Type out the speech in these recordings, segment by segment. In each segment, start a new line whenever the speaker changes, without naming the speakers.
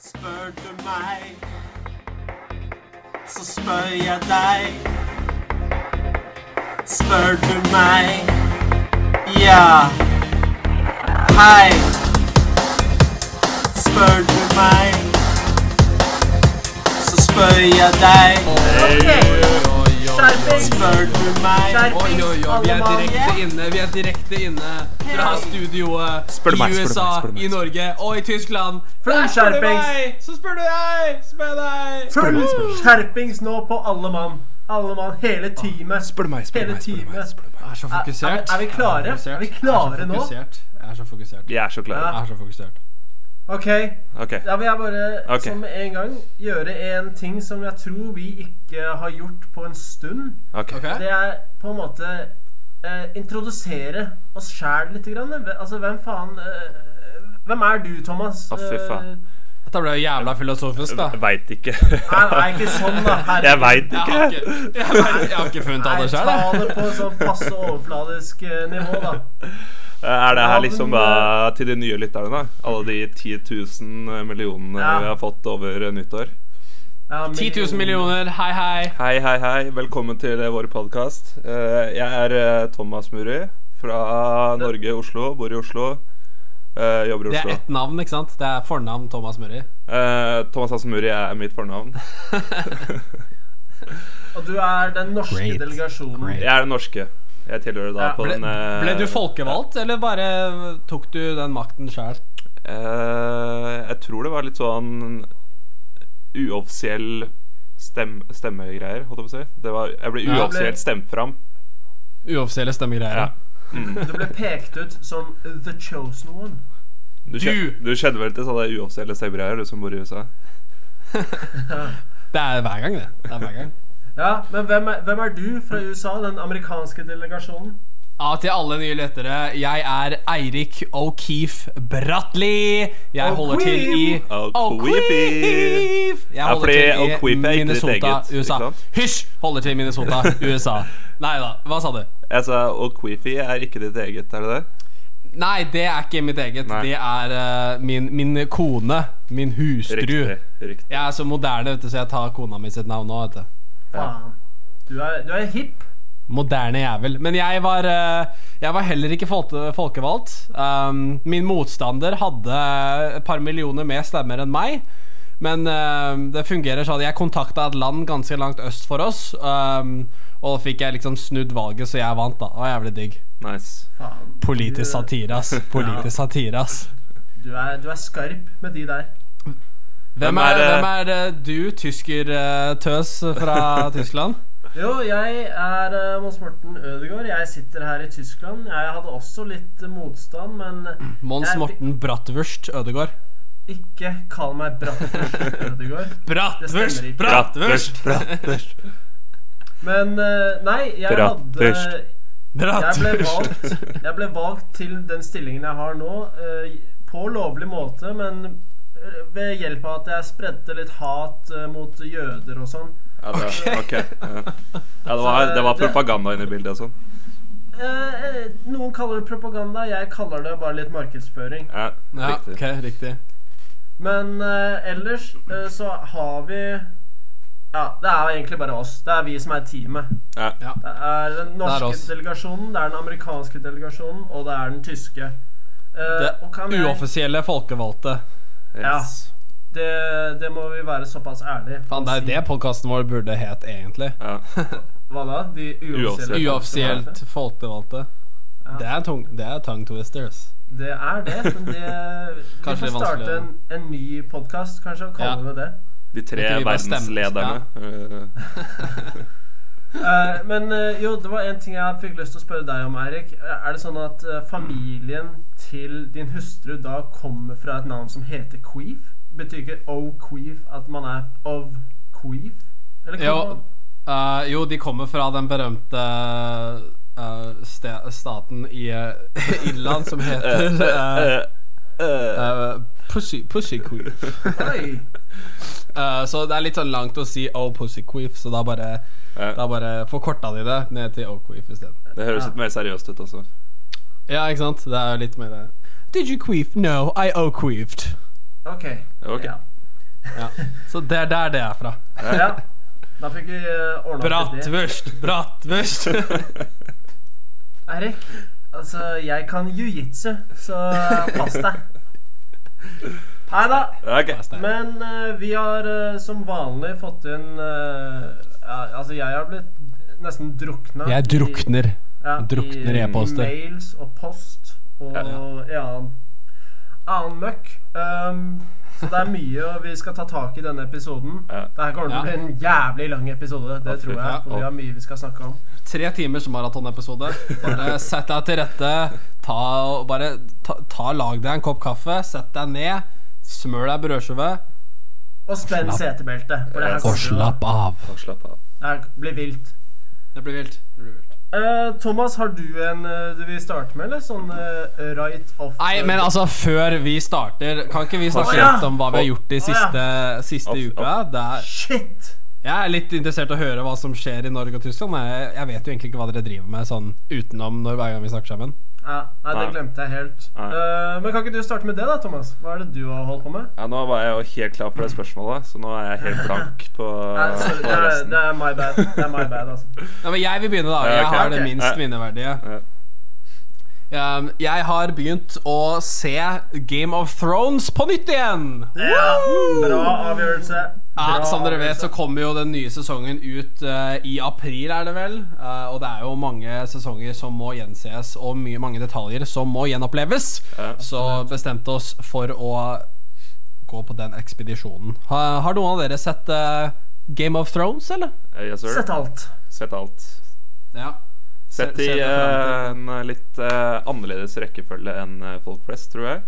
Spør du meg, så spør jeg deg. Spør du meg, ja. Hei. Spør du meg, så spør jeg deg.
Skjerpings!
Spør du meg,
Skjerpings,
Oi, oi, oi, vi er
alle mann!
direkte inne vi er direkte inne fra studioet
Spør du
i
meg, spør du meg,
USA,
spør du meg.
i Norge og i Tyskland.
Full
Der spør du
skjerpings.
meg, så spør du deg! Spør deg!
Full skjerpings nå på alle mann. Alle mann, hele teamet.
Spør du meg, spør
Hele
du meg, spør du meg,
teamet.
spør du meg.
Jeg er så
Er- er
fokusert.
vi- er vi klare?
Jeg fokusert.
Er vi klare
Jeg er så
nå?
fokusert. Jeg er så fokusert.
Vi er så klare.
Ja.
Jeg er så fokusert.
Ok,
Ok.
da vil jeg bare
Ok.
som med en gang gjøre en ting som jeg tror vi ikke har gjort på en stund.
ok.
Ok?
Det er på en måte eh, introdusere oss sjæl litt. Grann. Hve- Altså, hvem faen eh, Hvem er du, Thomas?
Å, fy faen.
Eh,
Dette ble jo jævla filosofisk, da.
Jeg Veit ikke.
Nei, nei, ikke sånn, da. Herregud.
Jeg veit
Jeg har ikke,
ikke.
jeg vet- jeg har ikke funnet av
Nei,
det sjøl,
ta
jeg.
det på sånn passe overfladisk eh, nivå, da.
Er det
Ja,
her liksom
men,
eh,
da til de nye lytterne, da? Alle de 10 000 millionene
Ja.
vi har fått over eh, nyttår?
Ja,
10 000 millioner, hei, hei.
Hei, hei, hei. Velkommen til eh, vår podkast. Jeg er eh, Thomas Muri fra Norge, Oslo. Bor i Oslo. eh, Jobber i
Det er
Oslo.
ett navn, ikke sant? Det er fornavn Thomas Murray.
Eh, Thomas Hansen Muri er mitt fornavn.
Og du er den norske
Great.
delegasjonen.
Great.
Jeg er den norske. Jeg tilhører da
Ja.
på
Ble,
den eh,
ble du folkevalgt, eller bare tok du den makten sjøl?
Eh, jeg tror det var litt sånn uoffisiell stem, stemmegreier, holdt jeg på å si. Det var, jeg ble
Ja.
uoffisielt stemt fram.
Uoffisielle
Ja.
stemmegreier.
Du ble pekt ut som the chosen one.
Du,
Du!
kjen- du kjenner vel til sånne uoffisielle stemmegreier, du som bor i USA?
Det er hver gang, det. det er hver gang.
Ja, Men hvem er, hvem er du
Mm.
fra USA, den amerikanske delegasjonen?
Ja, til alle nye lettere. Jeg er Eirik O'Keefe Bratli. Jeg holder til i
O'Keefe.
Jeg
Ja,
holder til i
fordi O'Keefe er ikke ditt
Minnesota,
eget, ikke
USA.
sant?
Hysj! Holder til i Minnesota, USA. Nei da, hva sa du?
Jeg sa O'Queefy er ikke ditt eget, er det det?
Nei, det er ikke mitt eget.
Nei.
Det er eh, min, min kone. Min hustru.
Riktig. riktig.
Jeg er så moderne, vet du, så jeg tar kona mi sitt navn nå. vet du
Faen. Du er, du er hipp.
Moderne jævel. Men jeg var, eh, jeg var heller ikke folke, folkevalgt. Um, min motstander hadde et par millioner mer stemmer enn meg. Men eh, det fungerer sånn. Jeg kontakta et land ganske langt øst for oss. Um, og fikk jeg liksom snudd valget, så jeg vant, da. Det var jævlig digg.
Nice.
Faen.
Politisk
Du,
satire, ass. Politisk satire, ass.
du, er, du er skarp med de der.
Hvem
Hvem
er,
er, eh,
hvem er eh, du, tyskertøs fra Tyskland?
Jo, jeg er eh, Mons Morten Ødegaard. Jeg sitter her i Tyskland. Jeg hadde også litt eh, motstand, men
Mons
Jeg-
Morten Bratwurst Ødegård.
ikke kall meg Brattvurst Ødegaard.
Bratwurst!
ikke.
Bratwurst!
Bratwurst.
Men eh, nei, jeg hadde
Bratwurst.
Jeg ble,
Bratwurst!
valgt, jeg ble valgt til den stillingen jeg har nå, eh, på lovlig måte, men eh, ved hjelp av at jeg spredte litt hat eh, mot jøder og sånn.
Ja, det, ok. Ja. Ja, det, var, det var propaganda inne i bildet og sånn.
Eh, eh, noen kaller det propaganda, jeg kaller det bare litt markedsføring.
Ja,
Ja,
riktig.
ok, riktig.
Men eh, ellers eh, så har vi Ja, det er egentlig bare oss. Det er vi som er teamet.
Ja.
Ja.
Det er den norske
oss.
delegasjonen, det er den amerikanske delegasjonen, og det er den tyske. Eh,
Det
og kan jeg-
Uoffisielle folkevalgte.
Yes.
Det, det må vi være såpass ærlige.
Faen, det er jo det podkasten vår burde het, egentlig.
Ja.
Hva da? De uoffisielle
Uoffisielt.
Uoffisielt folkevalgte. Det er, tung, det er tongue twisters.
Det er det, men det Vi
Kanskje
får
litt
starte
vanskelig,
en, en ny podkast, kanskje, og kalle det det.
De tre
Ikke vi bare
verdenslederne. Eh,
Eh, men eh, jo, det var en ting jeg fikk lyst til å spørre deg om, Eirik. Eh, Er det sånn at eh, familien til din hustru da kommer fra et navn som heter Queef? Betyr ikke O Queef at man er of Queef? Eller kan
Jo,
man-
eh, jo de kommer fra den berømte eh, ste staten i eh, Irland som heter eh,
eh,
eh, Pussy, pussy queef.
Oi!
Eh, så det er litt sånn langt å si oh pussy queef, så da bare,
eh,
da bare forkorta de det ned til oh queef isteden.
Det høres litt mer seriøst ut også.
Ja, ikke sant? Det er jo litt mer eh, Did you queef? No, I oh queefed.
Ok.
Ok.
Ja.
Ja. Så det er der det er fra.
Ja. Da fikk vi eh, ordna opp i det.
Bratwurst, bratwurst.
Eirik, altså, jeg kan jiu-jitsu, så eh, pass deg. Nei da.
Ok.
Men eh, vi har eh, som vanlig fått inn eh, ja, Altså, jeg har blitt nesten drukna.
Jeg drukner.
ja,
drukner i e-poster.
mails og post og ja, annen- annen møkk. Um, så det er mye og vi skal ta tak i denne episoden.
Ja.
Det her kommer til å bli
Ja.
en jævlig lang episode. Det
fy
tror jeg,
faen.
for vi har mye vi skal snakke om.
Tre timers maratonepisode. Bare sett deg til rette. Ta, og bare ta, ta, lag deg en kopp kaffe, sett deg ned, smør deg brødskive
Og spenn
Slapp.
setebeltet. For det her
Og
kommer til å-
av.
Og slapp av.
det her blir vilt.
Det blir vilt. Det blir vilt.
Eh, Thomas, har du en eh, du vil starte med, eller? Sånn eh, right off
Nei, men altså, før vi starter, kan ikke vi
Å,
snakke
ja.
litt om hva vi har gjort de
Å,
siste, siste
Off,
uka? Det er,
Shit!
jeg er litt interessert i å høre hva som skjer i Norge og Tyskland. Jeg, jeg vet jo egentlig ikke hva dere driver med sånn utenom når hver gang vi snakker sammen.
Ja, nei, det
Nei.
glemte jeg helt.
Nei.
Eh, men kan ikke du starte med det, da, Thomas? Hva er det du har holdt på med?
Ja, nå var jeg jo helt klar for det spørsmålet, så nå er jeg helt blank på,
Nei, sorry,
på
det, er,
resten.
det er my bad. Det er my bad, altså.
Ja, men jeg vil begynne, da.
Ja,
Jeg
ok.
har det
Ok.
minst minneverdige.
Ja.
Um, jeg har begynt å se Game of Thrones på nytt igjen!
Ja, bra avgjørelse. Bra
Ja, som dere vet, så
avgjørelse.
kommer jo den nye sesongen ut eh, i april, er det vel? Eh, og det er jo mange sesonger som må gjensees, og mye, mange detaljer som må gjenoppleves.
Ja.
Så bestemte oss for å gå på den ekspedisjonen. Ha, har noen av dere sett eh, Game of Thrones, eller?
Eh, Yes, sir.
Sett alt.
Sett alt.
Ja.
Sett i
Ser- ser det
eh,
frem
en litt eh, annerledes rekkefølge enn eh, folk flest, tror jeg.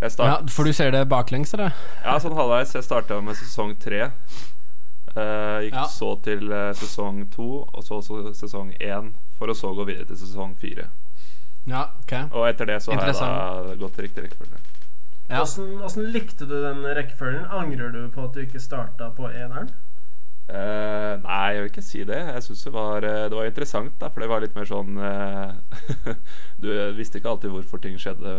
Jeg
Ja,
start,
for du ser det baklengs, eller?
Ja, sånn halvveis. Jeg starta med sesong tre. Eh, gikk
Ja.
så til eh, sesong to, og så, så sesong én, for å så gå videre til sesong fire.
Ja, ok.
Og etter det så har jeg da
Interessant.
gått i riktig rekkefølge.
Ja.
Åssen åssen likte du den rekkefølgen? Angrer du på at du ikke starta på eneren?
Eh, nei, jeg vil ikke si det. Jeg syns det, var, eh, det var interessant, da, for det var litt mer sånn eh, Du visste ikke alltid hvorfor ting skjedde.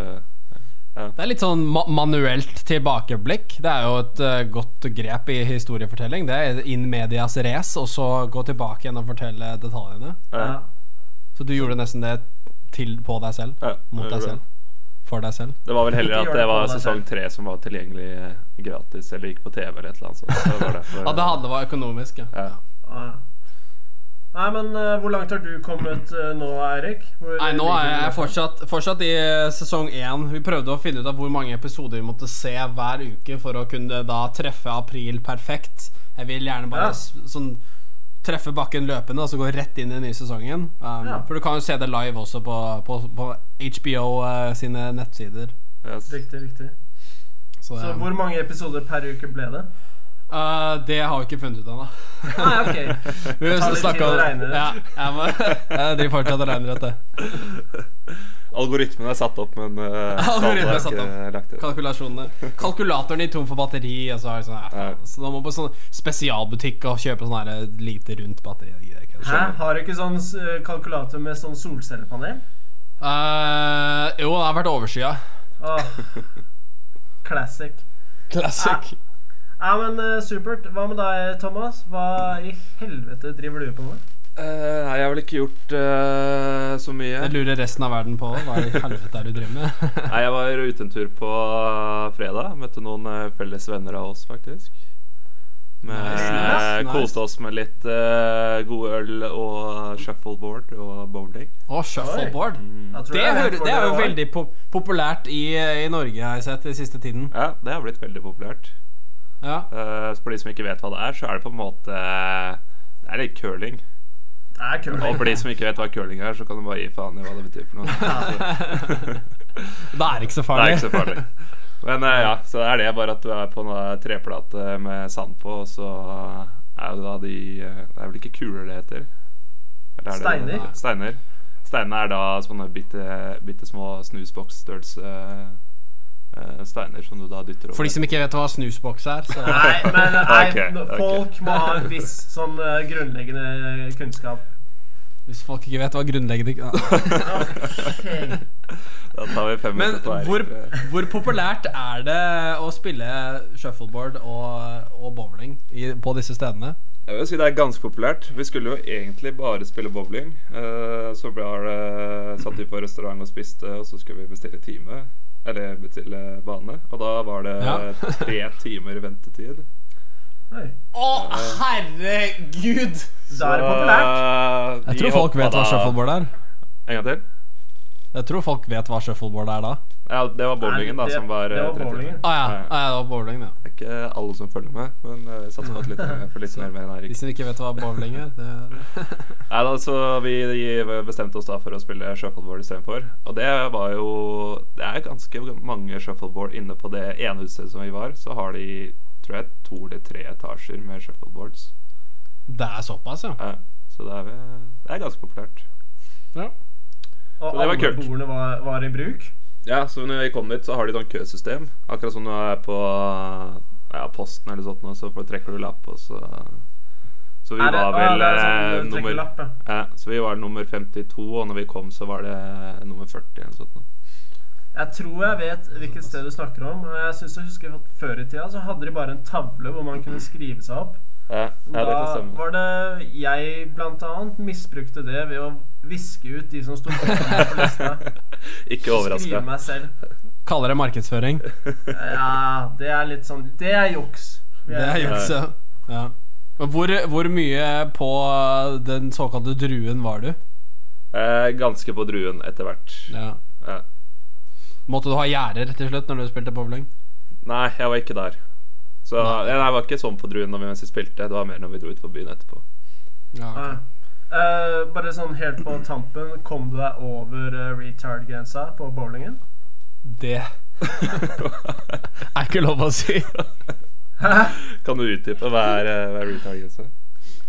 Det er litt sånn ma manuelt tilbakeblikk. Det er jo et eh, godt grep i historiefortelling. Det er in medias race, og så gå tilbake igjen og fortelle detaljene.
Ja,
Så du gjorde nesten det til på deg selv.
ja,
Mot deg
det var bra.
selv. For deg selv.
Det var vel heller
Ikke
at
gjør
det
det på
var
deg
sesong
selv.
tre som var tilgjengelig eh, gratis, eller gikk på TV eller et eller annet. sånt. Så det var derfor,
Ja, det hadde vært økonomisk, ja.
Ja.
Ja. Nei, men eh, hvor langt har du kommet eh, nå, Eirik? Hvor
Nei, nå er
ligger du?
jeg fortsatt, fortsatt i eh, sesong én. Vi prøvde å finne ut av hvor mange episoder vi måtte se hver uke for å kunne da treffe april perfekt. Jeg vil gjerne bare
Ja.
s- sånn treffe bakken løpende og så gå rett inn i den nye sesongen. Um,
Ja.
For du kan jo se det live også på, på, på HBO eh, sine nettsider.
Yes.
Riktig, riktig.
Så,
Så
det-
hvor mange episoder per uke ble det?
Eh, det har vi ikke funnet ut ennå.
Nei, ok.
Vi
tar litt tid
snakket
å
om-
regne det.
Ja, jeg, må, jeg driver fortsatt og regner dette.
Algoritmen er satt opp, men eh,
Algoritmen er
dataen
satt
ikke lagt ut.
Kalkulasjonene Kalkulatoren gikk tom for batteri. Og så, er det sånn, ja, faen. så da må man på sånn spesialbutikk og kjøpe sånn her lite rundt batteri. Det gidder jeg ikke.
Hæ? Har du ikke sånn eh, kalkulator med sånn solcellepanel?
Eh, jo, det har vært overskya.
Åh, classic.
Classic.
Ja, men eh, supert. Hva med deg, Thomas? Hva i helvete driver du på med?
Eh, nei, jeg har vel ikke gjort eh, så mye.
Jeg lurer resten av verden på hva i helvete er det du driver med.
Nei, jeg var ute en tur på eh, fredag. Møtte noen eh, felles venner av oss, faktisk. Med,
Nice, nice.
Koste oss med litt eh, god øl og eh, shuffleboard og bowling.
Og shuffleboard.
Jeg tror
Det,
jeg vet
hører,
hvor
det er jo
var.
veldig po- populært i, i Norge, har jeg sett, den siste tiden.
Ja, det har blitt veldig populært.
Ja.
Eh, for de som ikke vet hva det er, så er det på en måte Det er litt curling.
Det er
Og for
kult.
de som ikke vet hva curling er, så kan du bare gi faen i hva det betyr for noe. Så,
Det er ikke så
det er
farlig.
ikke så farlig. Men eh, ja, så er det bare at du er på en eh, treplate med sand på, og så er det da de eh, Det er vel ikke kuler det heter? Eller er det-
Steiner?
Steiner. Steinene er da sånne bitte, bitte små snusboksstørrelse eh, steiner som du da dytter over.
For de som ikke vet hva snusboks er. Så.
Nei, men eh, nei,
Ok,
no-
ok.
folk må ha en viss sånn eh, grunnleggende kunnskap.
Hvis folk ikke vet hva grunnleggende
Ok.
Da tar vi fem
Men
minutter på
hvor,
Eirik.
hvor populært er det å spille shuffleboard og, og bowling i, på disse stedene?
Jeg vil si det er ganske populært. Vi skulle jo egentlig bare spille bowling. eh, så ble det, satt vi på restaurant og spiste, og så skulle vi bestille time. Eller bestille bane. Og da var det
Ja.
tre timer ventetid.
Oi.
Å, herregud!
Da er det populært.
Så, eh,
Jeg
vi
tror folk
hoppa
vet hva
da-
shuffleboard er.
En gang til?
Jeg tror folk vet hva shuffleboard er da.
Ja, det var bowlingen, da,
det-
som var,
det
eh,
var
tre timer.
bowlingen.
Å ja. Ah, ja, det var bowling, ja.
Det er ikke alle som følger med, men eh, jeg satser på at litt, for litt mer mer enn Eirik.
De som ikke vet hva bowling er, det
Nei, da, så vi vi bestemte oss da for å spille shuffleboard istedenfor. Og det var jo Det er ganske mange shuffleboard inne på det ene utstedet som vi var. Så har de tror jeg to eller tre etasjer med shuffleboards.
Det er såpass, ja.
Ja, så det er, vel- det er ganske populært.
ja.
Og
Så det var
alle
kult.
bordene var, var i bruk.
Ja, så når vi kom dit, så har de sånn køsystem. Akkurat som når du er på ja, Posten eller sånt, nå, så får- trekker du lapp, og så Så vi
Er det-
var
ah,
vel
det er sånn,
eh,
du trekker
nummer
lapp, ja.
ja, Så vi var nummer 52, og når vi kom, så var det nummer 40 eller sånt. nå.
Jeg tror jeg vet hvilket sted du snakker om. og Jeg synes jeg husker at Før i tida så hadde de bare en tavle hvor man kunne skrive seg opp.
Ja, ja, det kan
Da
stemme.
var det jeg blant annet misbrukte det ved å viske ut de som sto foran meg på lista.
Ikke
Skrive
overraska.
meg selv.
Kaller det markedsføring.
Ja, det er litt sånn Det er juks. Vi
Det er
Ja.
juks, ja. ja. Men Hvor, hvor mye på den såkalte druen var du?
Eh, ganske på druen etter hvert.
Ja.
Ja.
Måtte du ha gjerder til slutt når du spilte bowling?
Nei, jeg var ikke der. Så
Nei.
jeg, jeg var ikke sånn på druen når vi mens vi spilte. Det var mer når vi dro ut på byen etterpå.
Ja, ok.
Ja. Eh, bare sånn helt på tampen, kom du deg over eh, retard-grensa på bowlingen?
Det er ikke lov å si.
Kan du utdype hva er, eh, hva er retard-grense?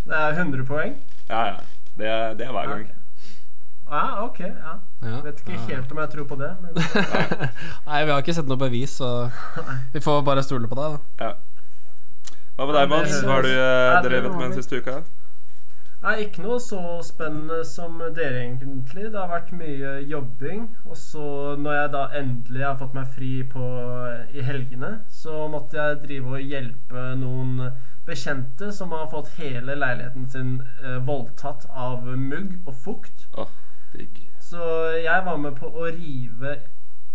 Det er 100 poeng?
Ja, ja. Det, er- det er hver gang.
Ok. Ja, ok. ja.
Ja.
Vet ikke helt om jeg tror på det, men
Nei, vi har ikke sett noe bevis, så vi får bare stole på deg. da
Ja. Hva med deg, Mats? Hva har du eh,
Ja, det
drevet med den siste uka?
Nei, ikke noe så spennende som dere egentlig. Det har vært mye jobbing. Og så når jeg da endelig har fått meg fri på, i helgene, så måtte jeg drive og hjelpe noen bekjente som har fått hele leiligheten sin eh, voldtatt av mugg og fukt.
Åh, digg.
Så jeg var med på å rive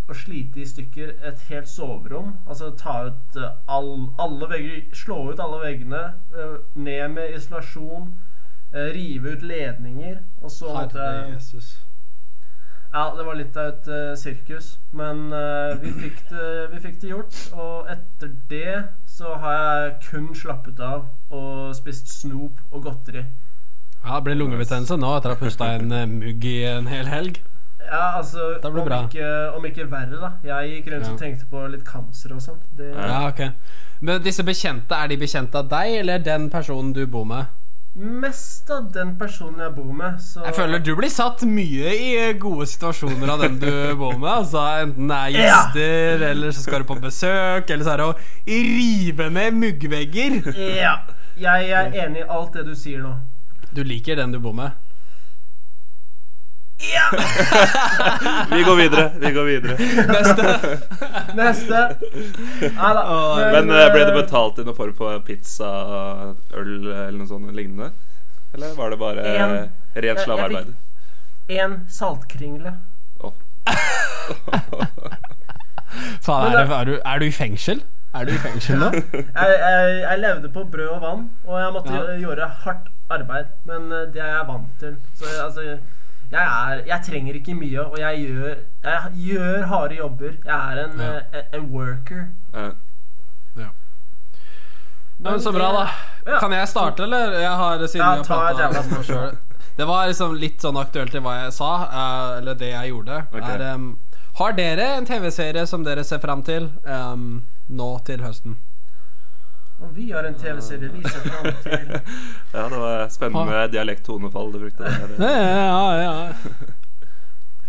og slite i stykker et helt soverom. Altså ta ut eh, all, alle vegger, slå ut alle veggene, eh, ned med isolasjon, eh, rive ut ledninger, og eh, så måtte jeg
Jesus.
ja, det var litt av et eh, sirkus, men eh, vi, fikk det, vi fikk det gjort. Og etter det så har jeg kun slappet av og spist snop og godteri.
Ja, Det blir lungebetennelse nå etter å ha pusta en eh, mugg i en hel helg.
Ja, altså
Da blir det
om
bra.
ikke, om ikke verre, da. Jeg gikk rundt og
Ja.
tenkte på litt kancer og sånn. Det-
Ja.
Ja, ok Men disse bekjente, er de bekjente av deg eller den personen du bor med?
Mest av den personen jeg bor med, så
Jeg føler du blir satt mye i eh, gode situasjoner av den du bor med. Altså Enten det er gjester, eller så skal du på besøk, eller så er det å rive ned muggvegger.
Ja. Jeg er enig i alt det du sier nå.
Du liker den du bor med.
Vi går videre. Vi går videre.
Neste.
Neste. Nei da.
Åh,
Men eh, ble det
eh,
betalt i noen form for pizza, øl eller noe sånt lignende? Eller var det bare
En.
eh, rent
Jeg- jeg fikk-
slavearbeid?
En saltkringle.
Åh.
Faen, er, det, er, du, er du i fengsel? Er du i fengsel nå?
jeg, jeg, jeg levde på brød og vann, og jeg måtte
Ja.
gjø- gjøre hardt arbeid. Men eh, det er jeg vant til. Så jeg- altså jeg, er, jeg trenger ikke mye, og jeg gjør, jeg gjør harde jobber. Jeg er en,
Ja.
eh, en- en worker.
Ja.
Ja, men så bra, da.
Ja.
Kan jeg starte, eller? Jeg har siden
Ja,
vi har
ta et
pratet
jævla
om meg
spørsmål.
selv. Det var liksom litt sånn aktuelt til hva jeg sa, eh, eller det jeg gjorde.
Ok.
Er, em, har dere en TV-serie som dere ser fram til em, nå til høsten?
Og vi har en TV-serie vi ser fram til.
Ja, det var spennende dialekttonefall du brukte der.
Ah. Ja, ja,
Ja,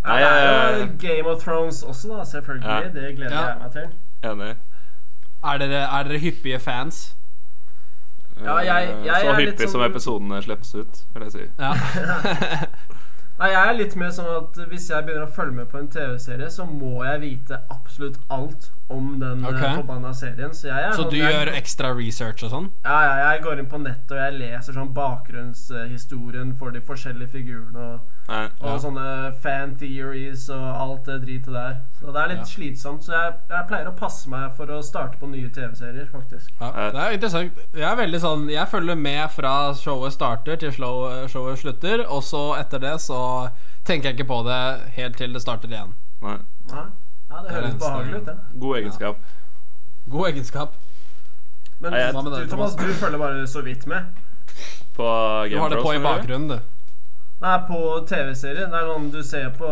Nei,
det er
jeg
jo Game of Thrones også, da, selvfølgelig.
Ja.
Det gleder
Ja.
jeg meg til.
er enig.
Er, dere, er dere hyppige fans?
Ja, jeg-
Eh,
jeg
så
er litt
hyppig som
sånn-
episodene slippes ut, vil jeg si.
Ja.
Nei, jeg er litt mer sånn at hvis jeg begynner å følge med på en TV-serie, så må jeg vite absolutt alt om den
Ok.
okay. forbanna serien. Så jeg er
Så
sånn-
du
jeg,
gjør ekstra research og sånn?
Ja, ja, jeg går inn på nettet og jeg leser sånn bakgrunnshistorien for de forskjellige figurene. og
Nei,
Og
Ja.
sånne fan theories og alt det dritet der. Så det er litt
Ja.
slitsomt. Så jeg, jeg pleier å passe meg for å starte på nye TV-serier, faktisk.
Ja,
Eh.
det er interessant. Jeg er veldig sånn Jeg følger med fra showet starter til slow- eh, showet slutter, og så etter det så tenker jeg ikke på det helt til det starter igjen.
nei.
Ja, ja det
er
høres
eneste-
behagelig ut, det.
God egenskap.
God egenskap.
Men
Nei, jeg-
Hva med
du,
deg,
Thomas, du følger bare så vidt med.
På Game
Du har det
Bros,
på i
eller?
bakgrunnen, du.
Nei, på TV-serier. Det er sånn du ser på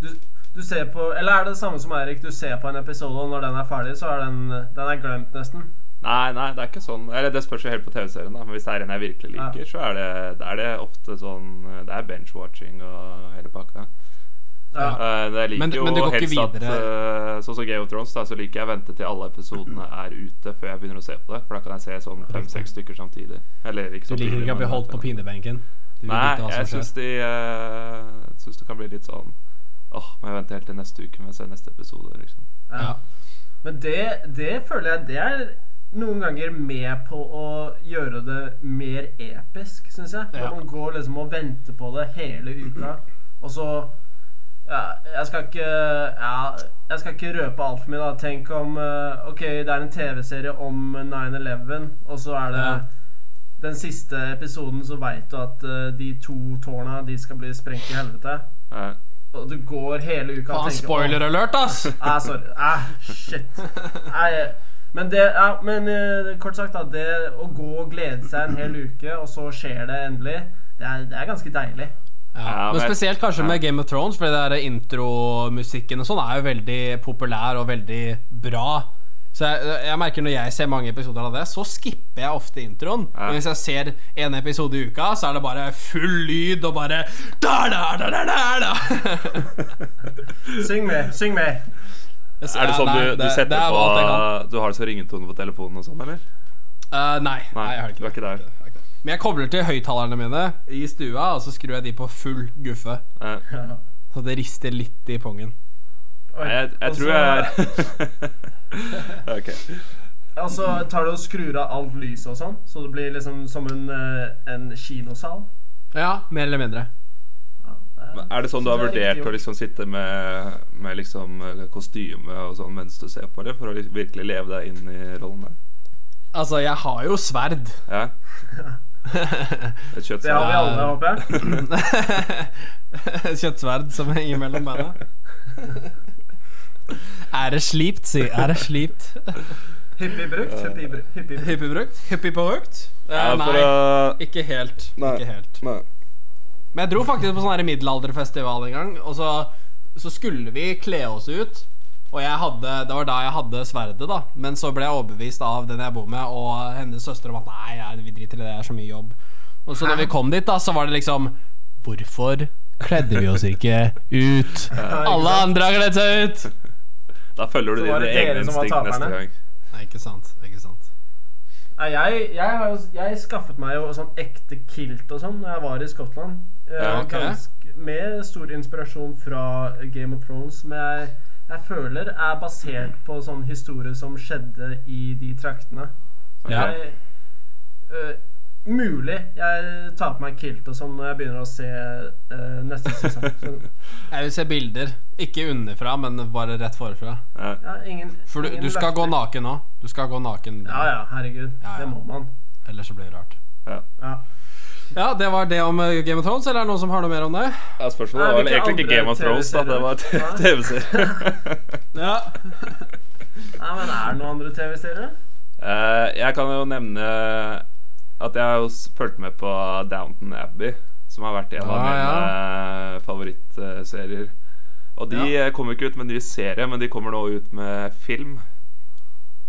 du, du ser på Eller er det det samme som Eirik? Du ser på en episode, og når den er ferdig, så er den, den er glemt, nesten.
Nei, nei, det er ikke sånn. Eller Det spørs jo helt på TV-serien, da. Men hvis det er en jeg virkelig
Ja.
liker, så er det, da er det ofte sånn eh, Det er bench-watching og hele pakka.
Ja.
Eh, det jeg liker
Men-
jo
men det går ikke
helst at
videre.
eh, Sånn som Game of Thrones, da, så liker jeg å vente til alle episodene er ute før jeg begynner å se på det. For da kan jeg se sånn fem-seks stykker samtidig. Eller ikke
Du
samtidig.
liker ikke å bli
men-
holdt på pinebenken. Du vil
Nei,
vite hva som
jeg
skjer.
syns de eh, Syns det kan bli litt sånn Åh, må jeg vente helt til neste uke med å se neste episode, liksom.
ja.
Men det, det føler jeg Det er noen ganger med på å gjøre det mer episk, syns jeg. Når
Ja.
man går liksom og venter på det hele uka, og så ja, jeg skal ikke ja, Jeg skal ikke røpe altfor mye. da Tenk om eh, Ok, det er en TV-serie om 9-11, og så er det
Ja.
den siste episoden, så veit du at eh, de to tårna De skal bli sprengt i helvete.
Eh,
Og du går hele uka og
Faen,
tenker «Åh,
spoiler alert, ass!
Ah, sorry. Ah, shit. Nei, men det ja, Men eh, kort sagt, da. Det å gå og glede seg en hel uke, og så skjer det endelig, det er, det er ganske deilig.
Ja,
Ja,
men
men-
spesielt kanskje
ja.
med Game of Thrones, for det der intromusikken og sånn er jo veldig populær og veldig bra. Så jeg, jeg merker Når jeg ser mange episoder av det, så skipper jeg ofte introen.
Ja.
Men hvis jeg ser en episode i uka, så er det bare full lyd og bare da, da, da, da, da, da.
Syng med, syng med.
er det sånn
Ja, nei,
du, du
det-
setter
det er
på
alt jeg kan.
Du har det så ringetone på telefonen og sånn, eller?
Eh, nei, nei, jeg har
du
ikke
er
det.
ikke der.
Men jeg kobler til høyttalerne mine i stua, og så skrur jeg de på full guffe.
Eh,
Så det rister litt i pungen.
Oi.
jeg jeg
Og
tror
så-
jeg Ok.
Og så tar du og skrur av alt lyset og sånn, så det blir liksom som en, eh, en kinosal.
Ja, mer eller mindre.
Ja, det
Er det sånn du har
Så det er
vurdert
riktig
å liksom sitte med, med liksom eh, kostyme og sånn mens du ser på det, for å liksom virkelig leve deg inn i rollen der?
Altså, jeg har jo sverd.
Ja? Et
Det har vi
kjøttsverd?
alle, håper jeg.
Kjøttsverd som henger mellom beina. Er det slipt, si? Er det slipt?
Hyppig brukt. Hyppig, bru- hyppig brukt.
Hyppig brukt? Hyppig på økt? Eh,
Ja, for
nei,
å-
ikke helt.
Nei.
Ikke helt.
Nei.
Men jeg dro faktisk på sånn her middelalderfestival en gang, og så, så skulle vi kle oss ut. Og jeg hadde, det var da jeg hadde sverdet, da. Men så ble jeg overbevist av den jeg bor med, og hennes søster om at nei, ja, vi driter i det, det er så mye jobb. Og så når vi kom dit, da, så var det liksom Hvorfor kledde vi oss ikke ut? Alle andre har kledd seg ut!
Da følger du
Så var
dine
det dere
egne
som var
instinkt neste
taperne.
gang.
Nei, ikke sant. Ikke sant.
Nei, jeg, jeg, har jo, jeg skaffet meg jo sånn ekte kilt og sånn da jeg var i Skottland. Eh,
Ja,
ok.
gansk- med stor inspirasjon fra Game of Thrones, som jeg, jeg føler er basert på sånn historie som skjedde i de traktene. Så
Ja.
jeg, eh, mulig jeg tar på meg kilt og sånn når jeg begynner å se eh, neste sesong. Så,
Jeg vil se bilder. Ikke underfra, men bare rett forfra.
Ja.
ja, ingen,
For du,
ingen
du skal gå
løfter.
naken nå. Du skal gå naken.
Ja ja, herregud.
Ja, ja.
Det må man.
Ellers så blir det rart.
Ja.
Ja.
Ja, det var det om eh, Game of Thrones, eller er det noen som har noe mer om det?
Ja,
Nei,
spørsmålet var vel
hvilke
egentlig
andre
ikke Game of Thrones, da. Det var
TV-serier?
TV-serie.
Ja.
Nei, men er det noen andre TV-serier?
Eh, jeg kan jo nevne at jeg har jo s- fulgt med på Downton Abbey, som har vært en av
Ah,
mine favorittserier. Og de
Ja.
eh, kommer ikke ut med ny serie, men de kommer nå ut med film.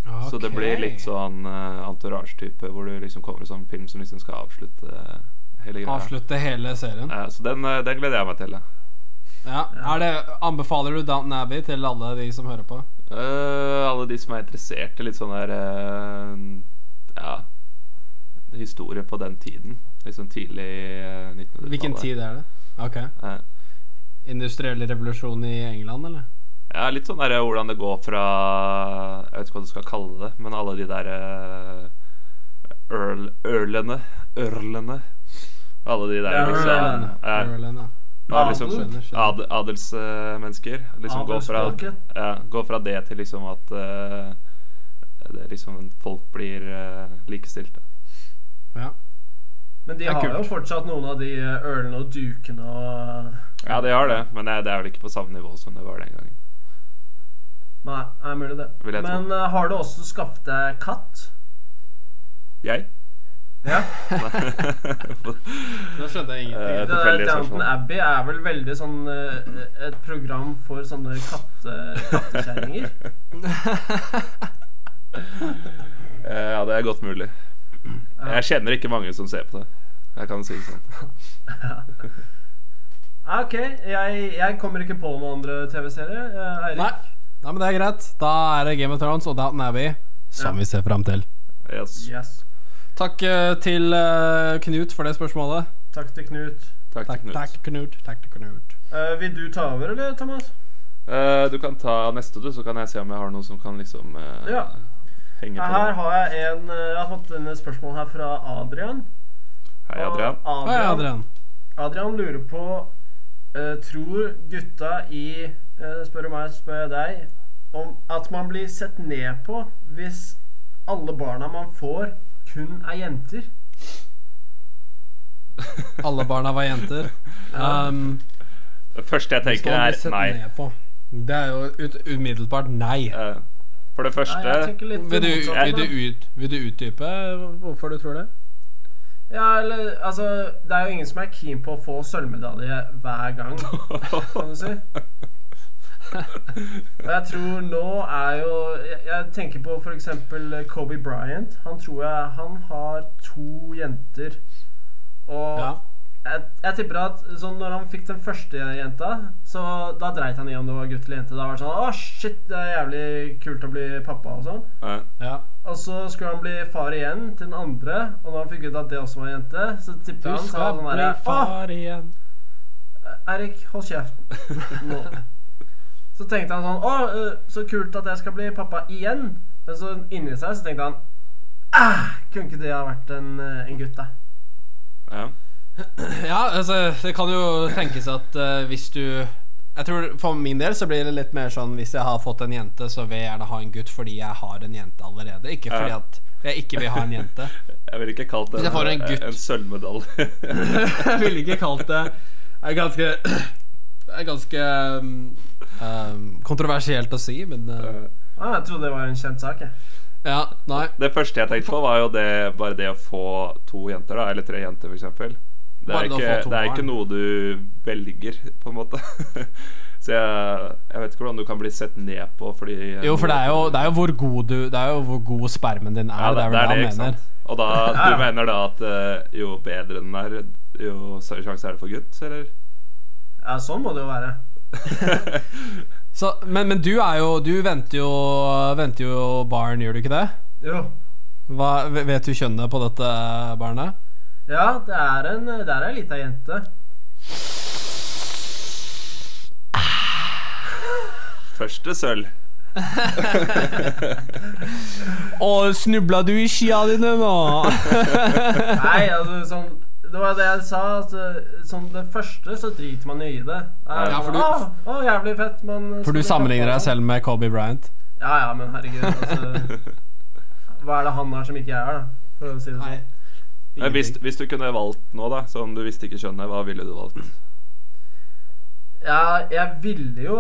Så det blir litt sånn uh, entourage-type, hvor du liksom kommer i sånn film som liksom skal avslutte eh, hele greia.
Avslutte hele serien.
Eh, så den, eh, den gleder jeg meg til. da.
Ja. Er det, anbefaler du Downton Abbey til alle de som hører på?
Eh, alle de som er interessert i litt sånn der eh, Ja historie på den tiden. Liksom tidlig eh, 1900-tallet.
Hvilken tid er det? Ok.
Eh,
Industriell revolusjon i England, eller?
Ja, litt sånn der, hvordan det går fra Jeg vet ikke hva du skal kalle det, men alle de der eh, Earl, Ørlene Ørlene Alle de der
Ja,
liksom
ørlene.
ja,
Ireland, ja.
ja, liksom,
Adel.
skjønner, skjønner. ad, Adelsmennesker. Liksom gå fra,
Adelsfolket.
ja, gå fra det til liksom at eh, det, liksom, folk blir eh, likestilte.
ja.
Men de
er
har
kult.
jo fortsatt noen av de eh, ørene og dukene og
Ja, det har det, men det, det er vel ikke på samme nivå som det var den gangen.
Nei, det er mulig det.
Vil jeg tro.
Men eh, har du også skaffet deg katt?
Jeg?
Ja.
Nå skjønte jeg ingenting.
Eh,
Det der
Tilfeldig
Downton
spørsmål.
Abbey er vel veldig sånn eh, et program for sånne katte, kattekjerringer.
Eh, ja, det er godt mulig. Jeg kjenner ikke mange som ser på det. Jeg kan si det sånn.
Ja, Ok, jeg, jeg kommer ikke på noen andre TV-serier. eh, Eirik?
Nei. Nei, men det er greit. Da er det Game of Thrones og Downton Abbey som
Ja.
vi ser fram til.
Yes.
Yes.
Takk eh, til eh, Knut for det spørsmålet.
Takk til Knut.
Takk, til
Takk,
Knut.
takk, Knut. Takk, Knut.
Eh, vil du ta over, eller, Thomas?
Eh, du kan ta neste, du, så kan jeg se om jeg har noe som kan liksom eh,
Ja.
henge på.
Her
den.
har jeg en eh, Jeg har fått en spørsmål her fra Adrian.
Hei, Adrian.
Og
Å ja, Adrian.
Adrian lurer på eh, Tror gutta i eh, Spør du meg, så spør jeg deg om at man blir sett ned på hvis alle barna man får, kun er jenter?
Alle barna var jenter. Um,
Det første jeg tenker,
skal vi
er
sette
nei.
ned på? Det er jo ut, umiddelbart nei.
Eh, for
Nei, jeg
det første
tenker litt
Vil du,
motsatt,
vil,
da.
du ut, vil du utdype hvorfor du tror det?
Ja, eller altså Det er jo ingen som er keen på å få sølvmedalje hver gang, kan du si. Og jeg tror nå er jo Jeg, jeg tenker på f.eks. Kobe Bryant. Han tror jeg Han har to jenter. Og
Ja.
jeg, jeg tipper at sånn, når han fikk den første jenta, så da dreit han i om det var gutt eller jente. Da var det sånn Å, shit, det er jævlig kult å bli pappa og sånn.
Eh,
Ja.
Og så skulle han bli far igjen til den andre, og da han fikk ut at det også var en jente, så
Du
tipper jeg han sa
skal
sånn
bli
herre Å,
far igjen.
Erik, hold kjeft. Nå. Så tenkte han sånn Å, øh, så kult at jeg skal bli pappa igjen. Men så inni seg så tenkte han Æh, kunne ikke det ha vært en, øh, en gutt, da?
ja.
Ja, altså, det kan jo tenkes at eh, hvis du Jeg tror For min del så blir det litt mer sånn hvis jeg har fått en jente, så vil jeg gjerne ha en gutt fordi jeg har en jente allerede. Ikke
Ja.
fordi at jeg ikke vil ha en jente.
Jeg ville ikke kalt det
Hvis jeg får en
en, eh,
gutt.
en sølvmedalje.
Jeg ville ikke kalt det Det er ganske Det er ganske um, um, kontroversielt å si, men uh,
Eh,
Ah, jeg trodde det var en kjent sak, jeg.
Ja, nei.
Det første jeg tenkte på, var jo det, bare det å få to jenter, da, eller tre jenter, f.eks. Det
Bare
er,
det å
ikke,
få to
det er ikke
barn.
noe du velger, på en måte. Så jeg, jeg vet ikke hvordan du kan bli sett ned på fordi
Jo, for det er jo, det er jo hvor god du Det er jo hvor god spermen din er.
Ja,
det er vel det,
ikke
han
sant?
mener.
Og da, du
Ja.
mener da at eh, jo bedre den er, jo større sjanse er det for gutt, eller?
Ja, sånn må det jo være.
Så, men, men du er jo Du venter jo, venter jo barn, gjør du ikke det?
Jo.
Hva, v- vet du kjønnet på dette barnet?
Ja, det er en Det er ei lita jente.
Første sølv.
Å, snubla du i skia dine nå?
Nei, altså sånn Det var det jeg sa. Altså, sånn det første så driter man jo i det. Nei,
Ja, for du-
å, å, jævlig fett, men
For du sammenligner deg selv med Kobe Bryant.
sånn. Ja ja, men herregud, altså. Hva er det han har som ikke jeg har, da? For å si det sånn.
Men hvis, hvis du kunne valgt nå, da, som du visste ikke skjønner, hva ville du valgt?
Ja, jeg ville jo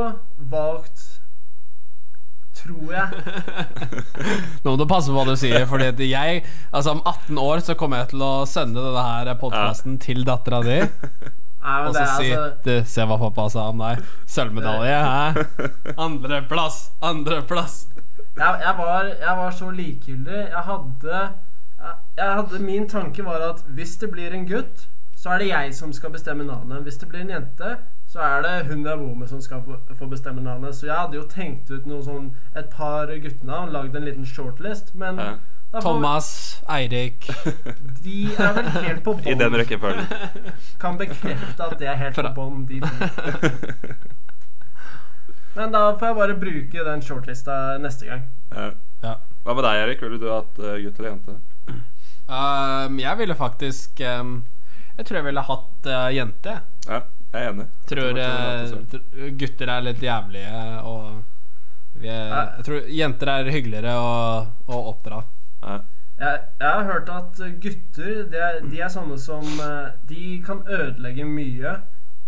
valgt Tror jeg.
Nå må du passe på hva du sier, Fordi at jeg Altså om 18 år så kommer jeg til å sende denne her podkasten til dattera di.
Nei, men
Og
det
så
er
si
altså
du, Se hva pappa sa om deg. Sølvmedalje, hæ? Andreplass! Andreplass!
jeg, jeg, var, jeg var så likegyldig. Jeg hadde, jeg, jeg hadde Min tanke var at hvis det blir en gutt, så er det jeg som skal bestemme navnet. Hvis det blir en jente, så er det hun jeg bor med, som skal få, få bestemme navnet. Så jeg hadde jo tenkt ut noe sånn, et par guttenavn, lagd en liten shortlist, men
Ja.
Da får
Thomas, Eirik
vi- De er vel helt på
I den
bånn.
rekkefølgen.
Kan bekrefte at det er helt på
Fra-
bånn, de to. Men da får jeg bare bruke den shortlista neste gang.
Ja.
Ja.
Hva med deg, Erik? Ville du hatt eh, gutt eller jente?
Ehm, jeg ville faktisk ehm, Jeg tror jeg ville hatt eh, jente.
Ja, jeg er enig.
Tror eh,
jeg tror jeg hadde hatt det selv.
tr- gutter er litt jævlige og vi er,
Nei.
Jeg tror jenter er hyggeligere å, å oppdra.
Ja.
Jeg, jeg har hørt at gutter de er, de er sånne som eh, De kan ødelegge mye,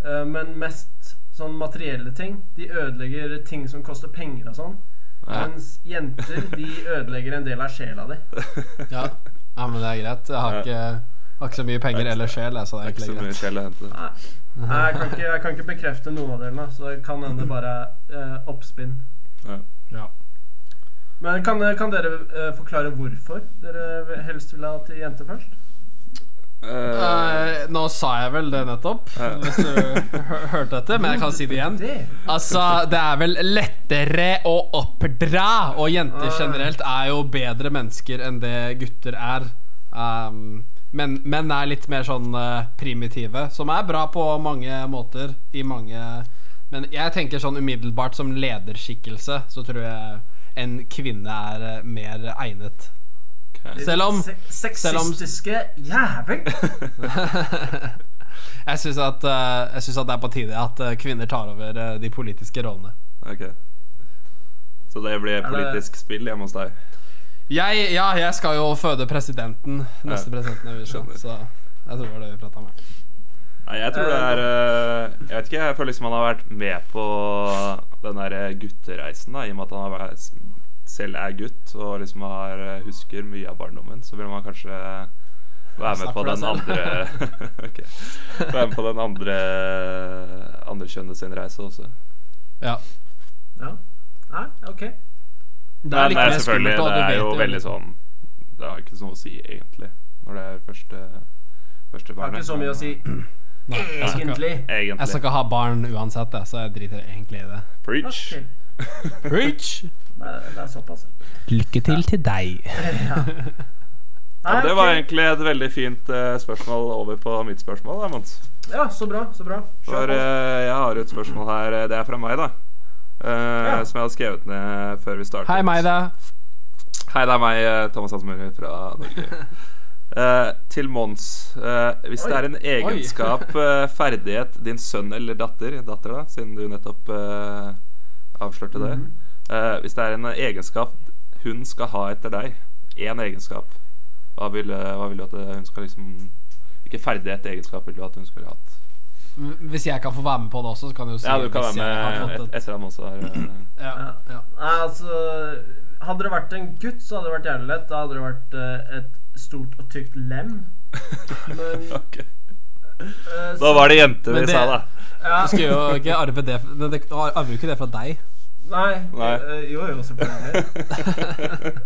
eh, men mest sånn materielle ting. De ødelegger ting som koster penger og sånn.
Ja.
Mens jenter de ødelegger en del av sjela di.
Ja. ja, men det er greit. Jeg har
Ja.
ikke, har ikke så mye penger eller sjel, jeg, så det er
Det er ikke så mye
egentlig greit.
skjell å hente.
Nei, Nei, jeg kan ikke, jeg kan ikke bekrefte noen av delene, så det kan hende bare eh, oppspinn.
Ja.
Ja.
Men kan, kan dere eh, forklare hvorfor dere helst vil ha til jenter først?
Eh,
Eh, nå sa jeg vel det nettopp,
Ja.
hvis du hø- hørte etter, men jeg kan si det igjen.
Det.
Altså, det er vel lettere å oppdra, og jenter generelt er jo bedre mennesker enn det gutter er. Um, men menn er litt mer sånn eh, primitive, som er bra på mange måter. I mange Men jeg tenker sånn umiddelbart som lederskikkelse, så tror jeg en kvinne er eh, mer egnet.
ok.
Selv om-
Se Sexistiske jævel!
Jeg syns at, eh, jeg synes at det er på tide at eh, kvinner tar over eh, de politiske rollene.
ok. Så det blir politisk spill hjemme hos deg.
Jeg, ja, jeg skal jo føde presidenten. Neste
Ja.
presidenten i USA.
Skjønner.
Så jeg tror det var det vi prata om.
Nei, jeg tror det er eh, Jeg vet ikke, jeg føler liksom han har vært med på den der eh, guttereisen, da, i og med at han har vært, selv er gutt og liksom har, husker mye av barndommen. Så vil man kanskje være med
Snakk
på
for deg
den
selv.
andre Ok. Være med på den andre andre kjønnet sin reise også.
Ja.
Ja. Nei, ok.
Det
Men
er litt
nei,
mer
selvfølgelig,
skummelt, og du
det
vet
er jo veldig
litt.
sånn Det har ikke så noe å si, egentlig, når det er første, første
Har
barnet.
ikke så mye å si
Nei, jeg skal ikke-
egentlig.
Jeg skal
Egentlig.
ikke ha barn uansett, jeg, så jeg driter egentlig i det.
Preach.
Ok.
Preach!
Det er, det er såpass.
Lykke til til deg.
Nei,
Det var
ok.
egentlig et veldig fint eh, spørsmål over på mitt spørsmål. Da, Mons.
Ja, så bra. Så bra.
For
Kjør på.
eh, jeg har et spørsmål her. eh, Det er fra meg, da. Eh,
Ja.
Som jeg hadde skrevet ned før vi startet.
Hei, meg, da.
Hei, det er meg, eh, Thomas Hansmøller fra Norge. Eh, til Mons. eh, hvis det
Oi.
er en egenskap, eh, ferdighet, din sønn eller datter, datter da, siden du nettopp eh, avslørte
Mhm.
det
Mhm.
eh, Hvis det er en egenskap hun skal ha etter deg, én egenskap, hva vil, eh, hva vil du at eh, hun skal liksom Hvilken ferdighet egenskap vil du at hun skulle hatt?
Hvis jeg kan få være med på det også, så kan du jo si
Ja, du kan
hvis
være
jeg har
med
fått
et,
et-
etter han også har eh,
ja, ja.
Nei, altså Hadde det vært en gutt, så hadde det vært jævlig lett. Da hadde det vært eh, et stort og tykt lem. Men
Ok.
eh,
Da
så-
var det jente vi
Men det-
sa, da.
ja.
Du skulle jo ikke arve det men det- Du arver jo ikke det fra deg.
Nei.
Nei.
eh, jo, jo, selvfølgelig.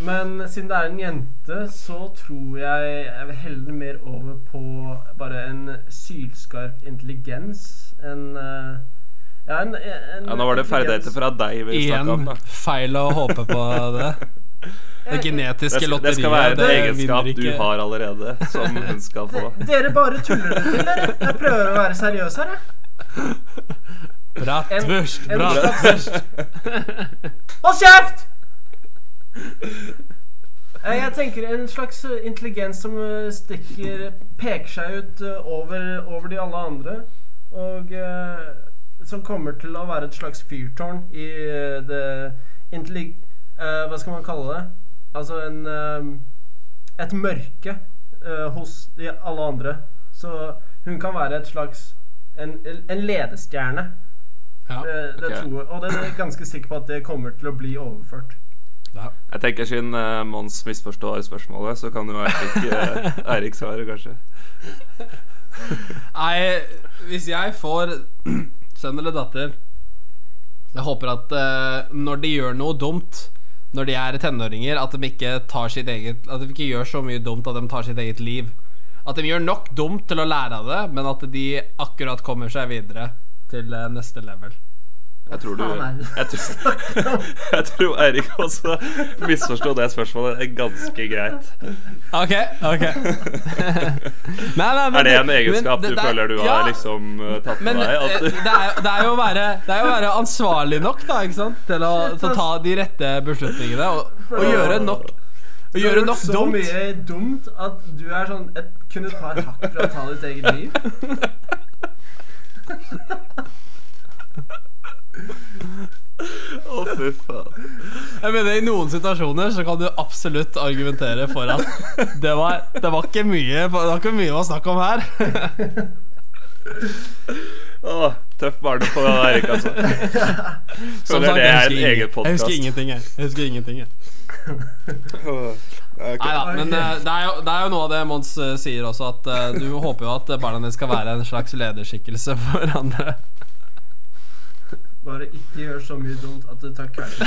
Men siden det er en jente, så tror jeg jeg vil helle mer over på bare en sylskarp intelligens. En eh, Ja, en, en
Ja, nå var det ferdigheter
intelligens-
fra deg vi snakka om,
Igjen
da.
feil å håpe på det. Det genetiske
Det skal,
lotteriet.
det skal være en
det
egenskap
vinner
du
ikke-
har allerede, som hun skal få.
Dere bare tuller det til, dere. Jeg prøver å være seriøs her, jeg. En-
Bratwurst,
en
bratwurst.
Hold kjeft! Eh, Jeg tenker en slags eh, intelligens som eh, stikker Peker seg ut eh, over, over de alle andre. Og eh, som kommer til å være et slags fyrtårn i eh, det intellig... eh, hva skal man kalle det? Altså en eh, Et mørke eh, hos de alle andre. Så hun kan være et slags En, en ledestjerne.
Ja,
Eh, det
Ok.
tror jeg. Og det er jeg ganske sikker på at det kommer til å bli overført.
ja.
Jeg tenker Siden eh, Mons misforstår spørsmålet, så kan jo Eirik, eh, Eirik svare, kanskje.
Nei, hvis jeg får sønn eller datter Jeg håper at eh, når de gjør noe dumt når de er tenåringer, at de ikke tar sitt eget At de ikke gjør så mye dumt at de tar sitt eget liv. At de gjør nok dumt til å lære av det, men at de akkurat kommer seg videre til eh, neste level.
Jeg tror du
faen er det du
Jeg tror, jeg tror Eirik også misforsto det spørsmålet ganske greit.
Ok, ok. Nei, nei, men
Er det en
men
egenskap
det-
du
det er-
føler du
ja,
har liksom eh, tatt med
Men
deg?
eh,
At
det,
du,
er, det, er jo å være, det er jo å være ansvarlig nok da, ikke sant? til å,
Shit,
til å ta de rette beslutningene. Og, og gjøre nok Å
Du har
gjøre
gjort
nok
så
dumt.
mye dumt at du er sånn et, kun et par hakk fra å ta ditt eget liv.
Å, fy faen.
Jeg mener I noen situasjoner så kan du absolutt argumentere for at det var, det var ikke mye Det var ikke mye å snakke om her.
Å, tøff barne på Eirik, altså.
Som
Føler
sagt,
det
jeg husker
er en
ingen-
egen
Jeg
podcast.
husker ingenting, jeg. jeg, husker ingenting, jeg. Nei da, men eh, det, er jo, det er jo noe av det Mons eh, sier også, at eh, du håper jo at eh, barna dine skal være en slags lederskikkelse for andre.
Bare ikke gjør så mye dumt at du tar kvelden.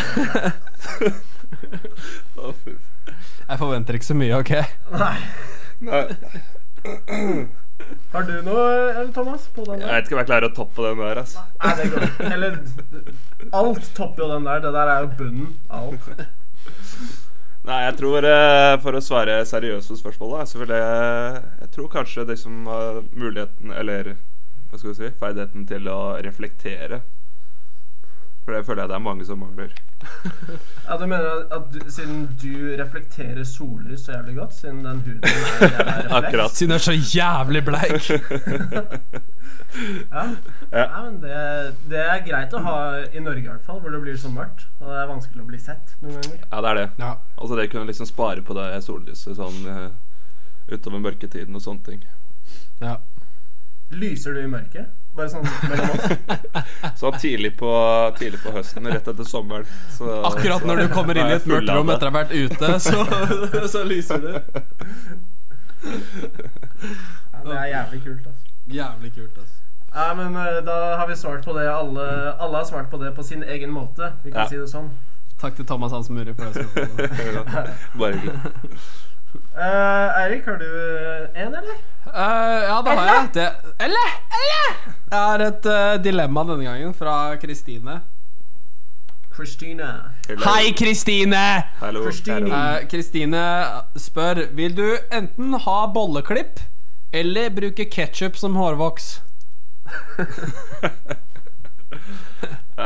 Å, fy faen.
Jeg forventer ikke så mye, OK?
Nei.
Nei.
Har du noe, eller Thomas, på den
Jeg
der?
vet ikke om jeg klarer å toppe den der. Altså.
Nei, det går ikke. Eller Alt topper jo den der. Det der er jo bunnen av alt.
Nei, jeg tror eh, For å svare seriøst på spørsmålet da, selvfølgelig, eh, Jeg tror kanskje de som har muligheten, eller hva skal vi si, ferdigheten til å reflektere. For det føler jeg det er mange som mangler.
Ja, du mener at- at du, siden du reflekterer sollys så jævlig godt, siden den huden er jævla refleks
Akkurat.
Siden du er så jævlig bleik.
Ja.
Ja.
Ja, men det, det er greit å ha i Norge i hvert fall, hvor det blir så mørkt. Og det er vanskelig å bli sett noen ganger.
Ja, det er det.
Ja.
Altså det kunne liksom spare på det sollyset sånn eh, utover mørketiden og sånne ting.
Ja.
Lyser du i mørket? Bare sånn mellom oss.
Så tidlig på, tidlig på høsten, rett etter sommeren så,
Akkurat når du kommer inn i et mørkt rom etter å ha vært ute, så, så lyser du.
Ja, det er jævlig kult, altså.
Jævlig kult, altså.
Ja, men eh, da har vi svart på det. Alle, alle har svart på det på sin egen måte. Vi kan
Ja.
si det sånn.
Takk til Thomas Hans Muri for det. spørsmålet.
Bare hyggelig.
Eh, Eirik, har du eh, en, eller?
Eh, ja, det har jeg. Det, eller? Eller? Jeg har et eh, dilemma denne gangen fra Kristine.
Christina.
Hello.
Hei, Kristine!
Hallo.
Christine.
Hallo.
Eh, Kristine spør Vil du enten ha bolleklipp eller bruke ketsjup som hårvoks.
Eh,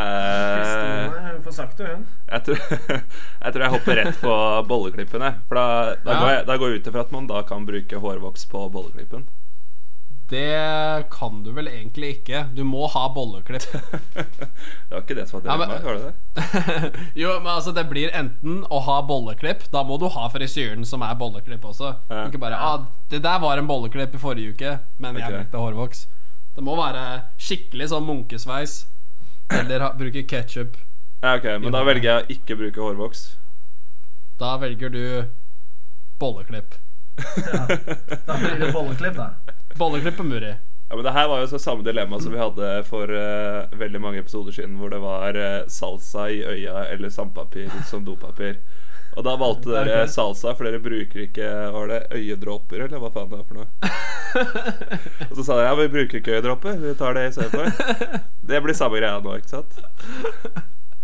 Christina, hun får sagt det, hun.
Jeg tror, jeg tror jeg hopper rett på bolleklippen. Jeg. For da, da,
Ja.
går jeg, da går jeg ut ifra at man da kan bruke hårvoks på bolleklippen.
Det kan du vel egentlig ikke. Du må ha bolleklipp.
Det var ikke det som var
Ja, men-
dilemmaet, var det det?
jo, men altså Det blir enten å ha bolleklipp. Da må du ha frisyren som er bolleklipp også.
Ja.
Ikke bare ah, 'Det der var en bolleklipp i forrige uke, men jeg
Ok.
brukte hårvoks'. Det må være skikkelig sånn munkesveis. Eller ha, bruke ketsjup.
Ja, ok, Men da velger jeg å ikke bruke hårvoks.
Da velger du bolleklipp.
Da blir det bolleklipp, da.
Bolleklipp på Muri.
Ja, men Det her var jo så samme dilemma som vi hadde for eh, veldig mange episoder siden, hvor det var eh, salsa i øya eller sandpapir som dopapir. Og da valgte dere
Ok.
salsa, for dere bruker ikke var det øyedråper, eller hva faen det var for noe. Og så sa dere ja, vi bruker ikke øyedråper, vi tar det istedenfor. Det blir samme greia nå, ikke sant?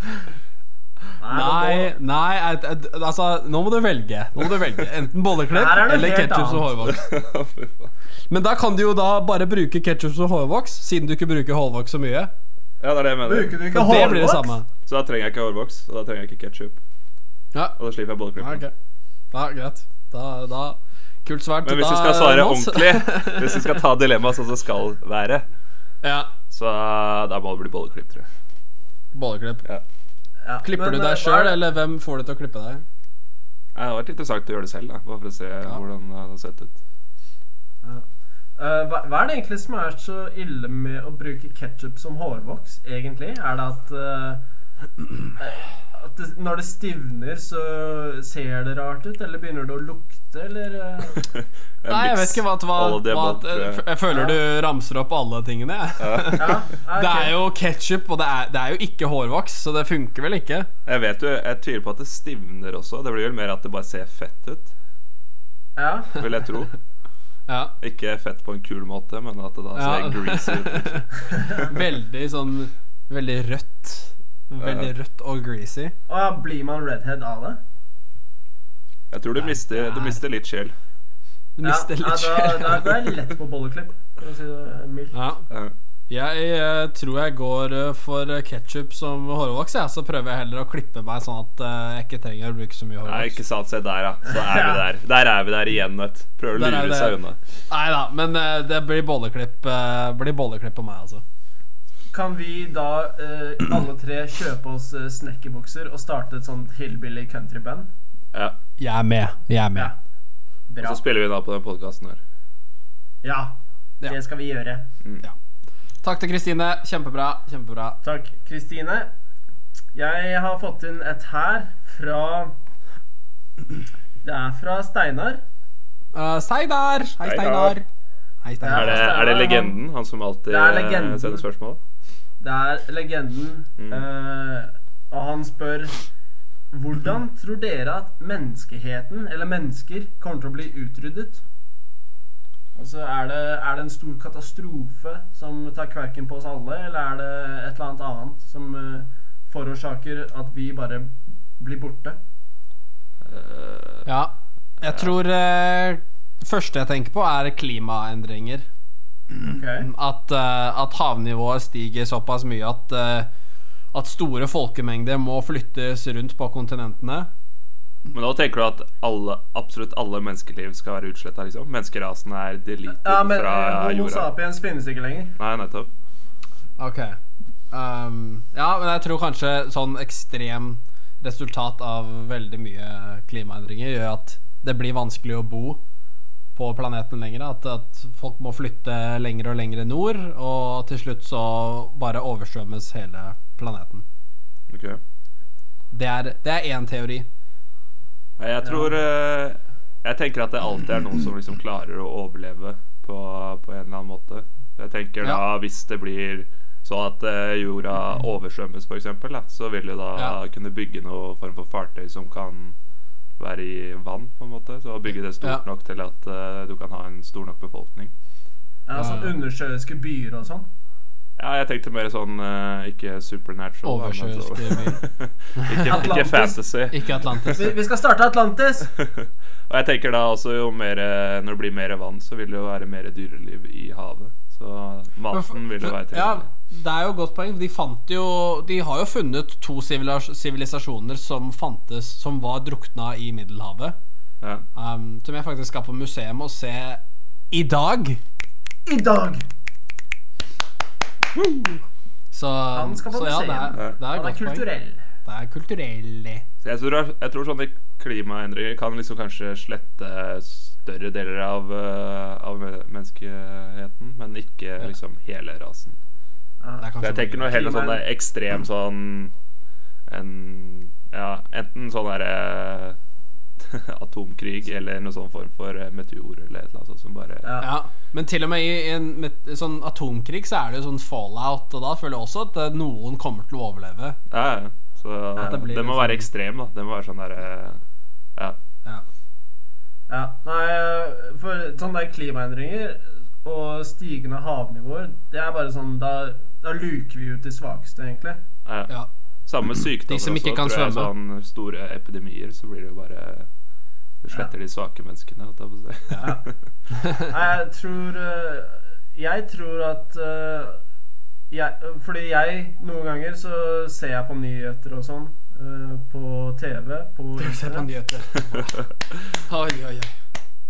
Nei, nei et, et, altså Nå må du velge. Nå må du velge Enten bolleklipp
Her er det
eller
helt
ketsjup som
annet.
hårvoks.
Å, fy faen.
Men da kan du jo da bare bruke ketsjup som hårvoks, siden du ikke bruker hårvoks så mye.
Ja, det er det jeg
Bruker du
mener.
ikke
For
hårvoks?
det blir det samme.
Så da trenger jeg ikke hårvoks, og da trenger jeg ikke ketsjup.
Ja,
Og da slipper jeg
ja
bolleklippen.
ok. Ja, greit. Da, da Kult svart.
Men hvis
da,
vi skal svare
Mons.
ordentlig, hvis vi skal ta dilemmaet sånn som det skal være,
ja.
så da må det bli bolleklipp, tror jeg.
Bolleklipp.
Ja.
Ja,
Klipper
men,
du
eh, hva
deg
er
sjøl,
det-
eller hvem får du til å klippe deg?
Ja, Det hadde vært interessant å gjøre det selv, da bare for å se hvordan det hadde sett ut.
Eh, hva, hva er det egentlig som er så ille med å bruke ketsjup som hårvoks, egentlig? Er det at, eh, eh, at det, når det stivner, så ser det rart ut? Eller begynner det å lukte, eller eh?
En
Nei, jeg
mix.
vet ikke hva, hva,
Alle de
hva
blant, eh,
Jeg føler du ramser opp alle tingene, jeg.
Ja, ok.
Det er jo ketsjup, og det er, det er jo ikke hårvoks, så det funker vel ikke?
Jeg vet jo, jeg tviler på at det stivner også. Det blir vel mer at det bare ser fett ut,
ja.
vil jeg tro.
Ja
Ikke fett på en kul måte, men at Altså, det da ser
Ja.
greasy ut.
Veldig sånn Veldig rødt. Veldig
Ja.
rødt og greasy.
Å ja, blir man redhead av det?
Jeg tror du mister, du mister litt sjel.
Du mister
ja,
litt
ja, da, da går
sjel.
jeg lett på bolleklipp, for å si det mildt.
Ja.
Ja.
Jeg eh, tror jeg går eh, for ketsjup som hårvoks, jeg. Så prøver jeg heller å klippe meg sånn at eh, jeg ikke trenger å bruke så mye
Nei,
hårvoks.
ikke sant. Se der, ja. Så er vi der. Der er vi der igjen, vet du. Prøver å
Der er vi
lure
der.
seg unna.
Nei da, men eh, det blir bolleklipp, eh, blir bolleklipp på meg, altså.
Kan vi da eh, alle tre kjøpe oss eh, snekkerbukser og starte et sånt hillbilly countryband?
Ja.
Jeg er med. Jeg er med.
Ja.
Og
Bra.
så spiller vi den av på den podkasten her.
Ja,
Ja.
det skal vi gjøre.
Takk til Kristine. Kjempebra. Kjempebra.
Takk, Kristine. Jeg har fått inn et her fra Det er fra Steinar.
Uh, Steinar! Hei,
Hei,
Steinar. Hei,
Er
Steinar.
det, er det legenden, han som alltid
Det er
eh,
legenden.
sender spørsmål?
Det er legenden. eh, og han spør Hvordan tror dere at menneskeheten, eller mennesker, kommer til å bli utryddet? Altså, er det, er det en stor katastrofe som tar kverken på oss alle, eller er det et eller annet annet som eh, forårsaker at vi bare blir borte?
Ja. Jeg tror eh, det første jeg tenker på, er klimaendringer.
Ok.
At, eh, at havnivået stiger såpass mye at, eh, at store folkemengder må flyttes rundt på kontinentene.
Men nå tenker du at alle, absolutt alle menneskeliv skal være utsletta, liksom? Menneskerasen er deleted
Ja, men
fra
eh, Homo
jorda?
sapiens finnes ikke lenger.
Nei, nettopp.
Ok. Um, ja, men jeg tror kanskje sånn ekstrem resultat av veldig mye klimaendringer gjør at det blir vanskelig å bo på planeten lenger. At, at folk må flytte lenger og lenger nord, og til slutt så bare overstrømmes hele planeten.
Ok.
Det er, det er én teori.
Nei, Jeg tror eh, Jeg tenker at det alltid er noen som liksom klarer å overleve på, på en eller annen måte. Jeg tenker
Ja.
da hvis det blir sånn at eh, jorda oversvømmes, f.eks., så vil du da
Ja.
kunne bygge noe form for fartøy som kan være i vann, på en måte. Så bygge det stort
Ja.
nok til at eh, du kan ha en stor nok befolkning.
Ja,
Ah.
sånn undersjøiske byer og sånn.
Ja, jeg tenkte mer sånn eh, ikke supernatural. da, men så-
Oversjøisk teori.
ikke, ikke
Atlantis.
fantasy.
Ikke
Vi,
Atlantis.
vi skal starte Atlantis!
Og jeg tenker da også jo mer eh, Når det blir mer vann, så vil det jo være mer dyreliv i havet. Så maten vil jo
ja,
være tilgjengelig.
det er jo et godt poeng. De, fant jo, de har jo funnet to sivilas- sivilisasjoner som fantes Som var drukna i Middelhavet.
Ja.
um, Som jeg faktisk skal på museum og se i dag
I dag!
Så,
Han skal på
så ja, det
museum.
er, det er
Han
godt
er
poeng.
kulturell.
Det er kulturell
Så jeg tror, jeg tror sånne klimaendringer kan liksom kanskje slette større deler av, eh, av men- menneskeheten, men ikke liksom hele rasen.
Det er
Så
kanskje
jeg tenker noe heller sånn
Klima-
der ekstrem sånn en, Ja, enten sånn derre atomkrig eller noen sånn form for eh, meteor eller et eller annet sånt som bare
Ja.
ja, Men til og med i en met- sånn atomkrig Så er det jo sånn fallout Og da føler jeg også at eh, noen kommer til å overleve
Ja, ja. Så
det
det,
blir
må
liksom-
være ekstrem, da. Det må være sånn der eh, Ja.
ja.
Ja, nei, eh, for sånne der klimaendringer og stigende havnivåer, det er bare sånn Da, da luker vi ut de svakeste, egentlig.
ja.
Ja.
Samme sykdommer
De som ikke
også,
kan
tror jeg.
svømme.
Sånn store epidemier, så blir det jo bare Du sletter de svake menneskene, holdt jeg på å si.
Ja. Nei, jeg tror eh, Jeg tror at eh, jeg, Fordi jeg noen ganger så ser jeg på nyheter og sånn eh, på TV. På
Se på
internett.
nyheter Oi, oi, oi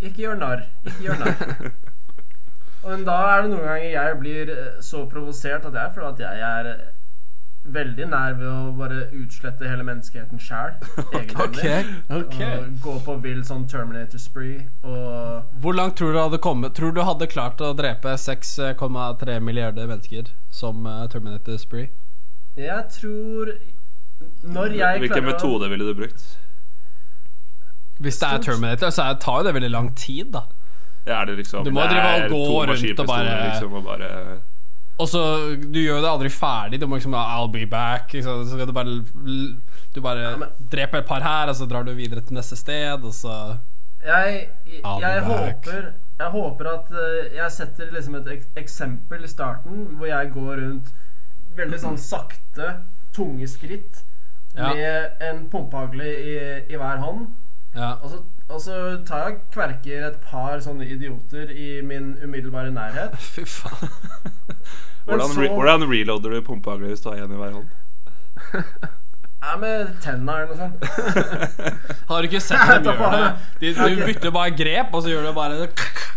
Ikke gjør narr. Ikke gjør narr. Men da er det noen ganger jeg blir eh, så provosert at jeg føler at jeg er eh, veldig nær ved å bare utslette hele menneskeheten sjæl.
Ok,
Og gå på vill sånn Terminator spree og
Hvor langt tror du hadde kommet Tror du hadde klart å drepe 6,3 milliarder mennesker Som eh, Terminator Spree
Jeg tror Når jeg
Hvilken
klarer
metode ville du brukt?
Hvis det er
Stort.
Terminator Så er- tar jo det veldig lang tid da
Ja, er det liksom
Du må
det
drive og
er
gå
to
rundt og
maskinpistoler,
bare-
liksom, og bare
Og så, Du gjør det aldri ferdig. Du må liksom I'll be back. Ikke sant? Så skal du bare Du bare
men-
dreper et par her, og så drar du videre til neste sted, og så
å Jeg, jeg,
I'll be
jeg
back.
håper Jeg håper at eh, jeg setter liksom et ek eksempel i starten hvor jeg går rundt veldig sånn sakte, tunge skritt
Ja.
med en pumpehagle i, i hver hånd.
Ja.
Og så, og så tar jeg og kverker et par sånne idioter i min umiddelbare nærhet.
Fy faen.
Men
Hvordan, re
så-
hvordan reloader du pumpehagla hvis du har én i hver hånd?
Ja, med tenna eller noe sånt.
Har du ikke sett dem
Ta
gjøre det?
faen.
De, du bytter bare grep, og så gjør du bare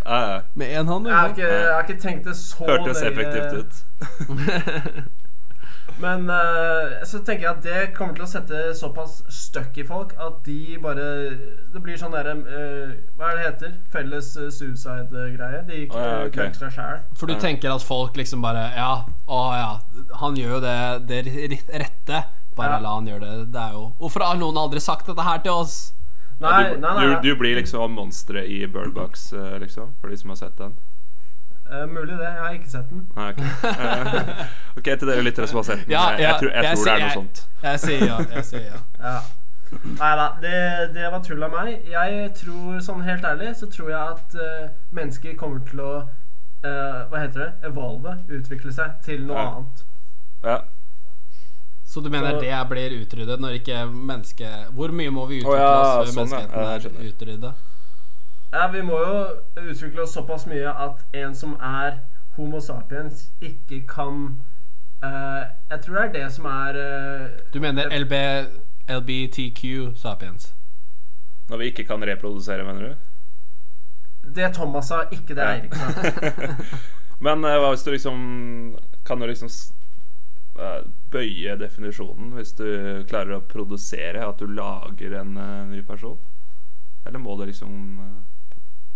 Ja, ja.
Med én hånd.
Jeg har
du.
ikke, jeg har ikke tenkt det eh, så
Hørtes effektivt ut.
Men eh, så tenker jeg at det kommer til å sette såpass støkk i folk at de bare Det blir sånn derre eh, Hva er det det heter? Felles eh, suicide-greie. De
Å, ja, ok.
knekker seg sjæl.
For du tenker at folk liksom bare Ja, å ja, han gjør jo det, det ri- rette. Bare
Ja.
la han gjøre det. Det er jo Hvorfor har noen aldri sagt dette her til oss?
Nei,
du,
nei, nei.
Du, du blir liksom monsteret i Birdbox, liksom? For de som har sett den?
Eh, mulig det. Jeg har ikke sett den.
Nei, ok. Eh, ok, til dere lyttere som har sett den.
Ja,
jeg,
ja,
jeg tror, jeg
jeg
tror det er
sier-
noe sånt.
Jeg sier ja. Jeg sier ja.
Ja. Nei da, det, det var tull av meg. Jeg tror, sånn helt ærlig, så tror jeg at eh, mennesker kommer til å eh, Hva heter det? Evolve. Utvikle seg til noe
Ja.
annet.
Ja.
Så du mener
Så-
det blir utryddet når ikke menneske Hvor mye må vi utvikle
Å, ja,
oss før
sånn, ja. Ja, jeg
menneskeheten
skjønner.
er utrydda?
Ja, Vi må jo utvikle oss såpass mye at en som er Homo sapiens, ikke kan eh, Jeg tror det er det som er eh,
Du mener LB, LBTQ sapiens?
Når vi ikke kan reprodusere, mener du?
Det Thomas sa, ikke det
Ja.
Eirik sa.
Men eh, hva hvis du liksom Kan du liksom s- eh, bøye definisjonen hvis du klarer å produsere at du lager en eh, ny person? Eller må det liksom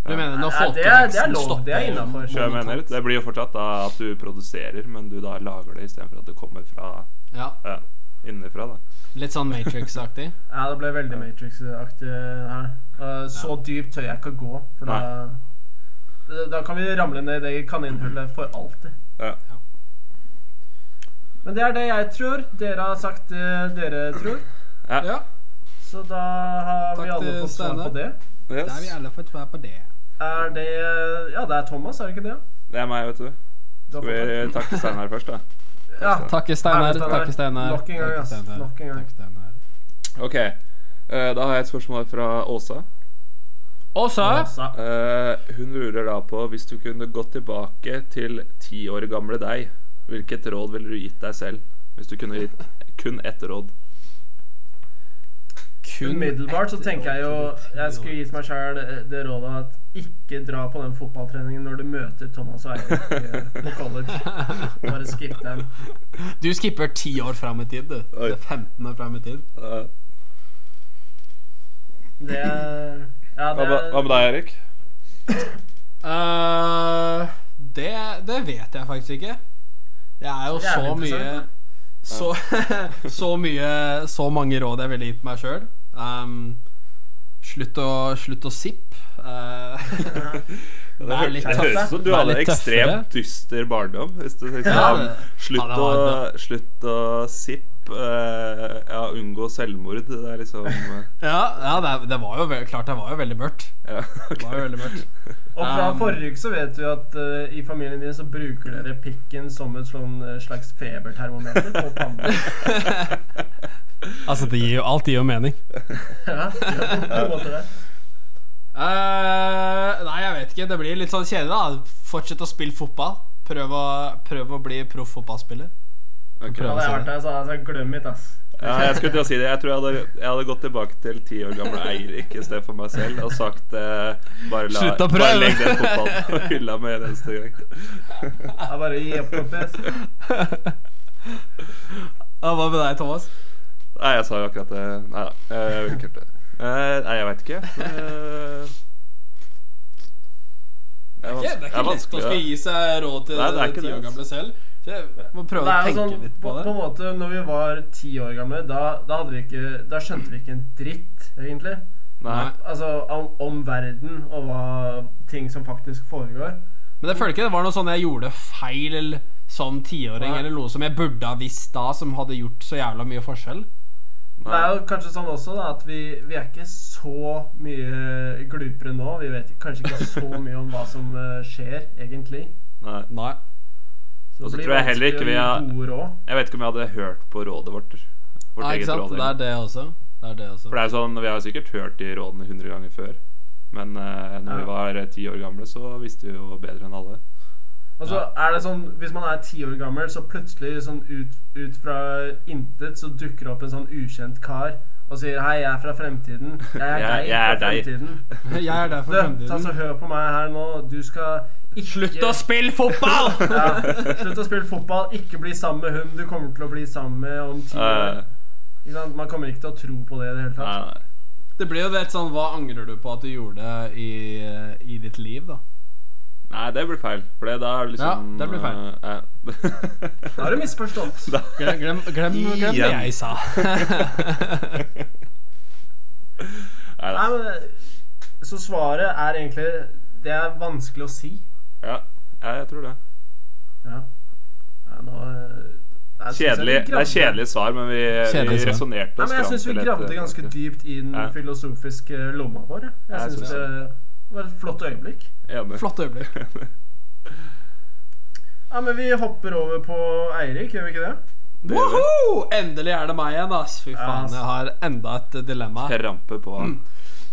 Du
Ja.
mener når
Ja, det er- det er
folkeveksten
lov,
stopper
det er innenfor.
eh, jeg mener,
momentalt?
Det blir jo fortsatt da at du produserer, men du da lager det istedenfor at det kommer fra
Ja,
ja, innenfra. da
Litt sånn Matrix-aktig.
Ja, det ble veldig Matrix-aktig her. Eh, så dypt tør jeg ikke å gå, for da Da kan vi ramle ned i det kaninhullet for alltid.
Ja.
Men det er det jeg tror. Dere har sagt det dere tror.
Ja.
Ja,
Så da har
Takk
vi alle
til
fått svar
Steinar.
på det.
da er vi
Yes.
alle fått hver på det.
Er det Ja, det er Thomas, er det ikke det?
Det er meg, vet du.
Du har
Skal
fått
vi takke Steinar først, da?
Ja,
Takke
Herre
Steinar.
Steinar.
Takke Steinar.
Nok en gang,
takke
ass.
Steinar,
Nok en gang.
takke Steinar.
Ok, eh, da har jeg et spørsmål fra Åsa.
Og så
Åsa.
Eh, hun lurer da på hvis du kunne gått tilbake til ti år gamle deg, hvilket råd ville du gitt deg selv? Hvis du kunne gitt kun ett råd.
kun
Umiddelbart så tenker jeg jo Jeg skulle gitt meg sjøl det rådet at ikke dra på den fotballtreningen når du møter Thomas og Eirik eh, på college. Bare skip den.
Du skipper ti år fram i tid, du.
Oi.
Det er 15 år fram i tid.
Eh,
Det er Ja,
hva,
det
med- hva med deg,
er
Erik?
Eh, det, det vet jeg faktisk ikke. Jeg er jo
Så
så
jævlig
mye
interessant,
så, så mye Så mange råd jeg ville gitt meg sjøl. slutt, å, slutt å Eh, sippe.
Det
Vær litt
høres- det høres ut
tøff.
som du
Vær
hadde
litt
ekstremt
tøffere.
dyster barndom. Hvis du liksom,
Ja, det-
slutt,
ja, det var
å, slutt å sippe. eh, ja, unngå selvmord. Det er liksom eh,
Ja, ja det, det var jo ve- klart det var jo veldig mørkt.
ja,
Det var jo
ok.
veldig mørkt.
Og fra
Um,
forrige uke så vet du at eh, i familien din så bruker dere pikken som et sånn eh, slags febertermometer på pannen.
Altså, det gir jo, alt gir jo mening.
Ja, på en måte det.
Eh, nei, jeg vet ikke. Det blir litt sånn kjedelig, da. Fortsett å spille fotball. Prøv å, prøv å bli proff fotballspiller.
Ok.
Hadde jeg vært der, så hadde jeg sagt glem it, ass.
Ja, jeg skulle til å si det. Jeg tror jeg hadde, jeg hadde gått tilbake til ti år gamle Eirik i stedet for meg selv og sagt eh, bare, la,
Slutt å
bare
prøve.
legg den fotballen på hylla med en eneste gang.
Jeg bare gi opp, kompis.
Ja, Hva med deg, Thomas?
Nei, jeg sa jo akkurat det. Nei da. eh, Jeg ville ikke gjort det. Eh, Nei, jeg veit ikke. Eh, Det er,
Ja,
vans
det er ikke lett å
vanskelig.
skulle
da.
gi seg råd til
Nei, det er
den
ikke
ti
det,
år
altså.
gamle selv. Så jeg må prøve
Det
å
er jo
tenke
sånn,
litt på det.
På en måte, når vi var ti år gamle, da, da, hadde vi ikke, da skjønte vi ikke en dritt, egentlig.
Nei.
Nei.
Altså om, om verden og hva ting som faktisk foregår.
Men jeg føler ikke det var noe sånn jeg gjorde feil som tiåring,
Nei.
eller noe som jeg burde ha visst da, som hadde gjort så jævla mye forskjell.
Det er jo kanskje sånn også da at vi, vi er ikke så mye glupere nå. Vi vet kanskje ikke så mye om hva som eh, skjer, egentlig.
Nei.
Nei.
Så Så
Og
det
så
blir
tror jeg heller
vanskelig
ikke
å
vi
gi
har-
gode råd.
Jeg vet ikke om jeg hadde hørt på rådet vårt. Vårt
Ja, ikke
eget
sant?
råd.
Det er det også. Det er det også.
For det er jo sånn, Vi har jo sikkert hørt de rådene 100 ganger før. Men eh, når vi
Ja.
var eh, ti år gamle, så visste vi jo bedre enn alle.
Altså, er det sånn, Hvis man er ti år gammel, så plutselig sånn ut, ut fra intet så dukker det opp en sånn ukjent kar og sier 'Hei, jeg er fra fremtiden. Jeg er
Jeg-
deg
jeg er
fra
deg.»
fremtiden'.
Jeg er der for
Du, ta så
fremtiden.
hør på meg her nå. Du skal ikke
Slutt å spille fotball!
ja, Slutt å spille fotball. Ikke bli sammen med hun du kommer til å bli sammen med om ti år.
Eh,
Ikke sant? Man kommer ikke til å tro på det i det hele
nei,
tatt.
nei.
Det blir jo litt sånn Hva angrer du på at du gjorde i, i ditt liv, da?
nei, det blir feil. For det, da er det
Ja,
liksom
det blir feil.
eh,
Da
eh.
har du misforstått.
Da-
Glem, glem, glem, glem det
Igjen.
jeg sa.
Neida.
Nei, men, så svaret er egentlig Det er vanskelig å si.
Ja, ja, jeg tror det.
Ja. Ja, nå, eh, jeg synes jeg
Kjedelig,
vi
det er
gravde-
kjedelig svar, men vi, vi
Kjedelig svar.
resonnerte
Nei,
oss
men jeg
fram
syns vi
til et- eh,
gravde ganske dypt i den
Ja.
filosofiske lomma vår. jeg.
Jeg
Jeg syns
synes det.
det var et flott øyeblikk.
Enig.
Flott øyeblikk.
Ja, men Vi hopper over på Eirik, gjør vi ikke det?
Det gjør vi.
Woho! Endelig er det meg igjen, ass. Fy faen,
ass.
jeg har enda et eh, dilemma.
Rampe på han.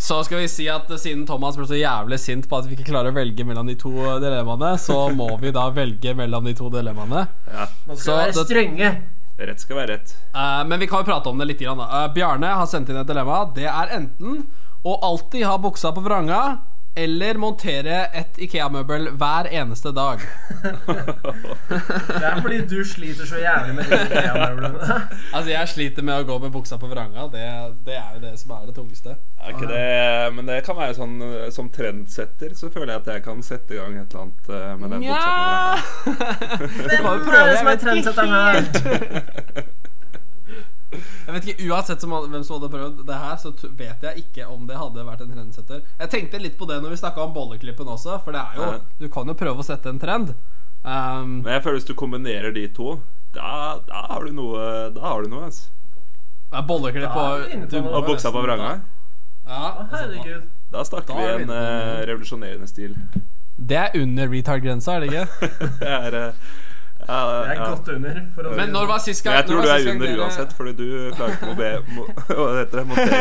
Så skal vi si at eh, siden Thomas ble så jævlig sint på at vi ikke klarer å velge mellom de to eh, dilemmaene, så må vi da velge mellom de to dilemmaene.
Ja.
Nå skal
Så
vi være
det-
strenge.
Rett skal være rett.
Eh, men vi kan jo prate om det litt. Grann, da. Eh, Bjarne har sendt inn et dilemma. Det er enten å alltid ha buksa på vranga eller montere et Ikea-møbel hver eneste dag.
Det er fordi du sliter så jævlig med de IKEA-møblene.
Altså, jeg sliter med å gå med buksa på vranga. Det, det er jo det som er det tungeste.
Er ikke det, men det kan være sånn eh, som trendsetter, så føler jeg at jeg kan sette i gang et eller annet eh, med den buksa. på
Nja.
hverandre.
Du kan jo
Hvem
prøve,
er det
jeg
som er
vet ikke
trendsetteren her?
Jeg vet ikke, Uansett som, hvem som hadde prøvd det her, så t- vet jeg ikke om det hadde vært en trendsetter. Jeg tenkte litt på det når vi snakka om bolleklippen også, for det er jo
Ja.
Du kan jo prøve å sette en trend. Um,
Men jeg føler hvis du kombinerer de to, da, da har du noe. Da har du noe altså.
er bolleklipp
Da er
og
vi inne på
du-
noe.
Og buksa på vranga.
Ja, altså,
Å, Herregud.
Da snakker
Da
vi
er vi
en
inne på noe.
eh, revolusjonerende stil.
Det er under retard-grensa, er det ikke?
Det er, eh, ja,
Jeg er
ja.
godt under. For å si
Men
det
når
sånn.
var sist
Men
gang
jeg tror
når
du
var
er
sist gang
under
dere-
uansett, fordi du klarer ikke å be, mo, hva heter det, montere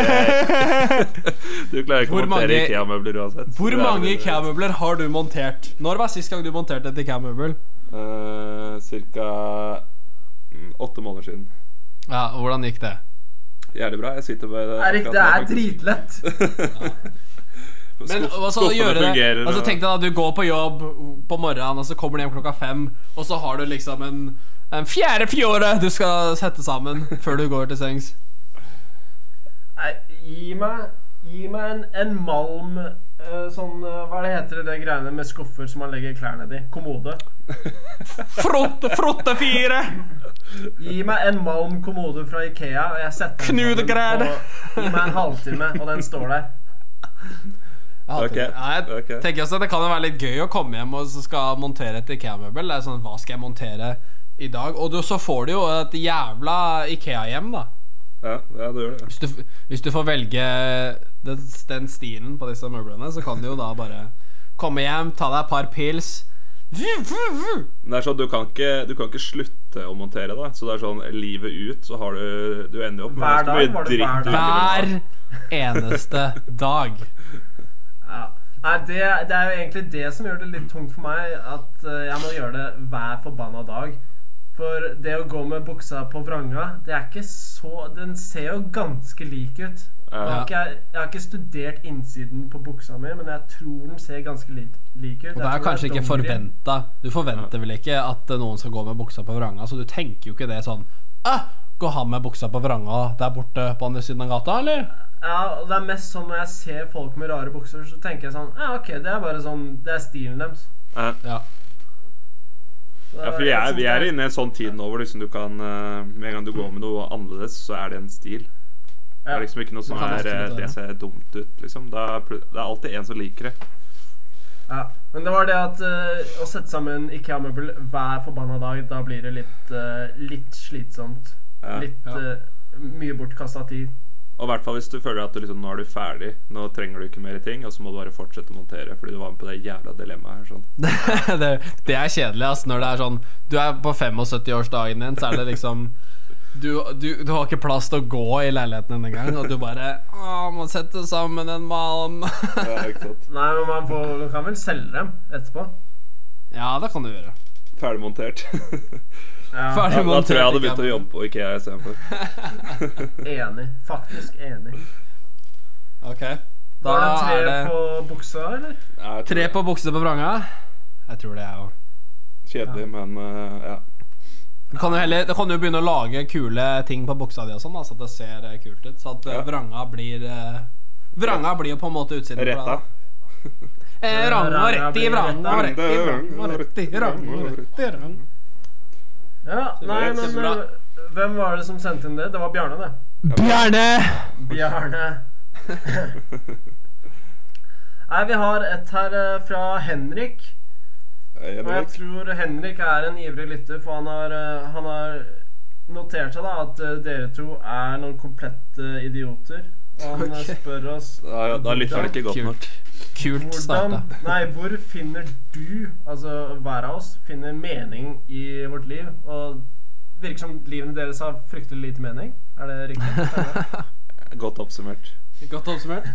Du klarer ikke
Hvor
å montere
mange-
IKEA-møbler uansett.
Hvor
Det er
mange
vel-
IKEA-møbler har du montert? Når var sist gang du monterte et IKEA-møbel?
Eh, Cirka mm, åtte måneder siden.
Ja, og hvordan gikk det?
Jævlig bra. Jeg sitter med det.
Eirik, det er dritlett.
Men altså,
skuffene
gjøre det,
fungerer,
altså
og-
Tenk deg da, du går på jobb på morgenen, og så kommer du hjem klokka fem, og så har du liksom en, en fjerde fjore du skal sette sammen før du går til sengs.
Nei, gi meg Gi meg en, en malm eh, Sånn, eh, hva er det heter det, det greiene med skuffer som man legger klærne i? Kommode.
Frotte, frottefire!
Gi meg en malm kommode fra Ikea, og jeg setter den sammen
Knudegreier.
på- Gi meg en halvtime, og den står der.
Ok, ok.
Tenker også at Det kan jo være litt gøy å komme hjem og så skal montere et Ikea-møbel. Det er sånn, Hva skal jeg montere i dag? Og du, så får du jo et jævla Ikea-hjem, da.
Ja, ja, du gjør det.
Hvis du, hvis du får velge den, den stilen på disse møblene, så kan du jo da bare komme hjem, ta deg et par pils Vuh, vuh, vuh.
Men det er sånn, du kan, ikke, du kan ikke slutte å montere, da. Så det er sånn livet ut, så har du Du ender jo opp med
Hver dag
ganske mye
var det hver
dritt. du
dag.
Hver eneste dag.
Ja. Nei, det, det er jo egentlig det som gjør det litt tungt for meg, at eh, jeg må gjøre det hver forbanna dag. For det å gå med buksa på vranga, det er ikke så Den ser jo ganske lik ut. Jeg har,
Ja.
ikke, jeg har ikke studert innsiden på buksa mi, men jeg tror den ser ganske lik, lik ut.
Og det er kanskje ikke forventa. Du forventer vel ikke at eh, noen skal gå med buksa på vranga, så du tenker jo ikke det sånn «Ah, Går han med buksa på vranga der borte på andre siden av gata, eller?
Ja, og det er mest sånn når jeg ser folk med rare bukser, så tenker jeg sånn Ja, ok, det er bare sånn Det er stilen deres.
Ja.
Ja.
Så
Ja, for vi er,
synes
vi
det
er inne i en sånn tid nå hvor liksom du kan eh, Med en gang du går med noe annerledes, så er det en stil. Det
Ja.
er liksom ikke noe som
kan
er eh,
absolutt være.
Det ser dumt ut, liksom. Det er, pl- det er alltid en som liker det.
Ja, men det var det at eh, å sette sammen IKEA-møbel hver forbanna dag, da blir det litt, eh, litt slitsomt.
Ja.
Litt
Ja.
eh, mye bortkasta tid.
Og i hvert fall hvis du føler at du liksom, nå er du ferdig, nå trenger du ikke mer ting, og så må du bare fortsette å montere fordi du var med på det jævla dilemmaet her. sånn
det, det er kjedelig ass, når det er sånn Du er på 75-årsdagen din, så er det liksom du, du, du har ikke plass til å gå i leiligheten din engang, og du bare Å, må sette sammen en malm.
ja, ikke sant?
Nei, men man, får, man kan vel selge dem etterpå.
ja, det kan du gjøre.
Ferdigmontert.
Ja,
ja,
Ferdig
da tror jeg jeg hadde
montert,
begynt å jobbe på Ikea istedenfor.
Enig. Faktisk enig.
Ok. Da
Var det tre
er det
på buksa, eller?
Nei, jeg tror
tre
det
på buksene på vranga. Jeg tror det, jeg òg.
er Kjedelig, men eh, ja.
Du kan jo heller du kan jo begynne å lage kule ting på buksa di og sånn, da, så at det ser eh, kult ut. Så at eh,
Ja.
vranga blir eh, Vranga blir jo på en måte utsiden. på
Retta.
deg, da. Eh, Ranga og rett i vranga og rett i vranga og rett i vranga og rett i vranga.
Ja, nei,
vet,
men
så bra.
eh, hvem var det som sendte inn det? Det var Bjarne, det.
Bjørne!
Bjarne. Nei, vi har et her eh, fra Henrik.
Jeg er
Og jeg
enig.
tror Henrik er en ivrig lytter, for han har, eh, han har notert seg da at eh, dere to er noen komplette idioter. Og han eh,
Ok.
spør oss
Da, da lytter han ikke godt nok.
Kult. Kult
hvordan,
starta.
nei, hvor finner du, altså hver av oss, finner mening i vårt liv? Og virker som livene deres har fryktelig lite mening. Er det riktig?
Godt oppsummert.
Godt oppsummert.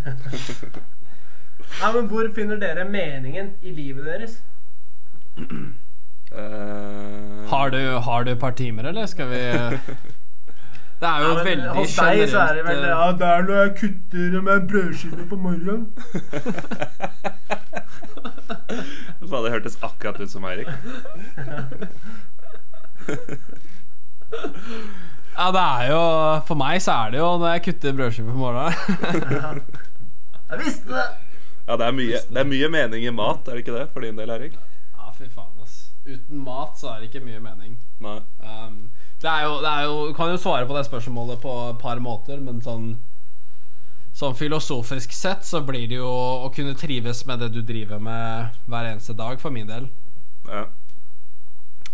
Nei, men hvor finner dere meningen i livet deres?
Eh,
Har du, har du et par timer, eller skal vi Det er
Ja,
jo et
men
veldig
hos deg så er det vel
generelt eh,
Ja, det er når jeg kutter med en brødskive på morgenen.
Faen, det hørtes akkurat ut som Eirik.
Ja, det er jo For meg så er det jo når jeg kutter brødskiver på morgenen.
Jeg visste det!
Ja, det er, mye, det er mye mening i mat, er det ikke det? For din del, Eirik?
ja, fy faen, ass. Uten mat så er det ikke mye mening.
Nei.
Um, det er jo, det er jo, du kan jo svare på det spørsmålet på et par måter, men sånn Sånn filosofisk sett så blir det jo å kunne trives med det du driver med hver eneste dag, for min del.
Ja.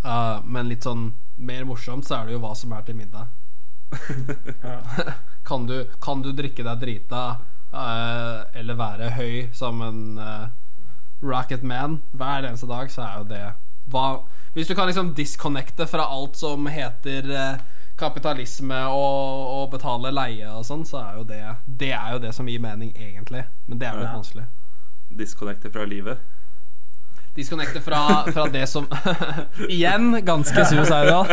Uh, men litt sånn mer morsomt så er det jo hva som er til middag. kan, du, kan du drikke deg drita uh, eller være høy som en uh, rocket man hver eneste dag, så er jo det hva, Hvis du kan liksom disconnecte fra alt som heter uh, kapitalisme og, og betale leie og sånn, så er jo det Det er jo det som gir mening, egentlig. Men det er jo litt
Ja.
vanskelig.
Disconnecte fra livet.
Disconnecte fra, fra det som Igjen, ganske suicidal.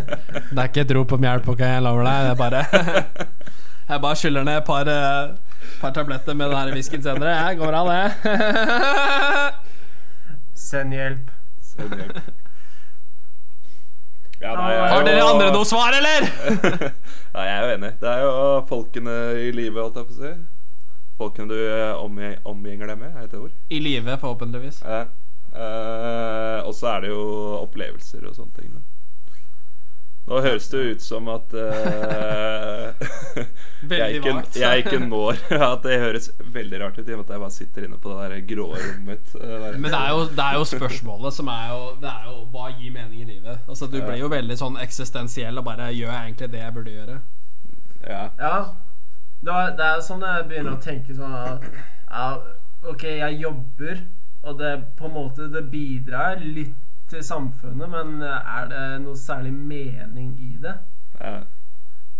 det er ikke et rop om hjelp, ok, jeg lover deg. Jeg bare, jeg bare skyller ned et par, eh, par tabletter med den her whiskyen senere. Jeg går bra, det.
Send hjelp.
Send hjem. Ja, nei, jeg er
Har dere
jo-
andre noe svar, eller?
Nei, jeg er jo enig. Det er jo folkene i livet, holdt jeg på å si. Folkene du eh, omgi- omgjenger deg med, er det et ord?
I live, forhåpentligvis.
Ja. Eh, og så er det jo opplevelser og sånne ting. Da. Nå høres det jo ut som at eh, jeg,
Veldig
ikke,
vagt.
jeg ikke når At det høres veldig rart ut i og med at jeg bare sitter inne på det der grå rommet mitt. eh, der.
Men det er, jo, det er jo spørsmålet som er jo, det er jo Hva gir mening i livet? Altså Du blir jo veldig sånn eksistensiell og bare Gjør jeg egentlig det jeg burde gjøre?
ja.
Ja. Det, var, det er jo sånn jeg begynner å tenke sånn at, ja, Ok, jeg jobber, og det på en måte det bidrar litt til samfunnet, men er det noe særlig mening i det?
Ja.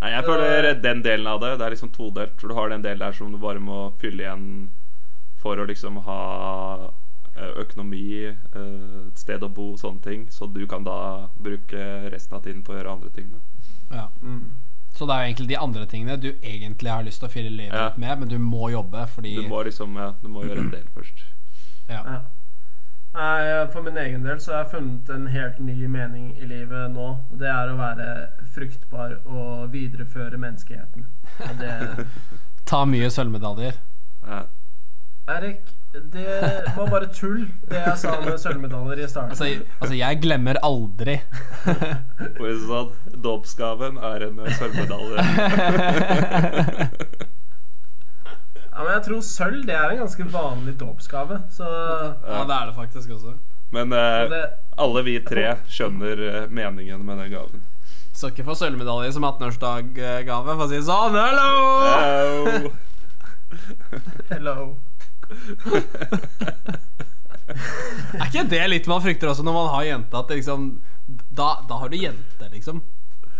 Nei, jeg føler
Øh.
den delen av det Det er liksom todelt. For du har den delen der som du bare må fylle igjen for å liksom ha eh, økonomi, eh, et sted å bo, sånne ting. Så du kan da bruke resten av tiden på å gjøre andre ting. Da.
Ja
Mm.
Så det er jo egentlig de andre tingene du egentlig har lyst til å fylle livet
Ja.
ditt med, men du må jobbe fordi
Du må liksom ja, du må gjøre en del først.
ja.
Ja. Nei, For min egen del så har jeg funnet en helt ny mening i livet nå. Og det er å være fruktbar og videreføre menneskeheten. Og det
Ta mye sølvmedaljer.
Ja.
Erik, det var bare tull, det jeg sa med sølvmedaljer i starten.
Altså, altså, jeg glemmer aldri.
For å si det sånn, dåpsgaven er en eh, sølvmedalje.
ja, men jeg tror sølv det er en ganske vanlig dåpsgave, så
Ja, det er det faktisk også.
Men eh,
det,
alle vi tre skjønner eh, meningen med den gaven.
Skal ikke få sølvmedalje som 18-årsdaggave, for å si det sånn. Hello!
Au.
Hello.
Er ikke det litt man frykter også når man har jente? At det liksom Da, da har du jente, liksom.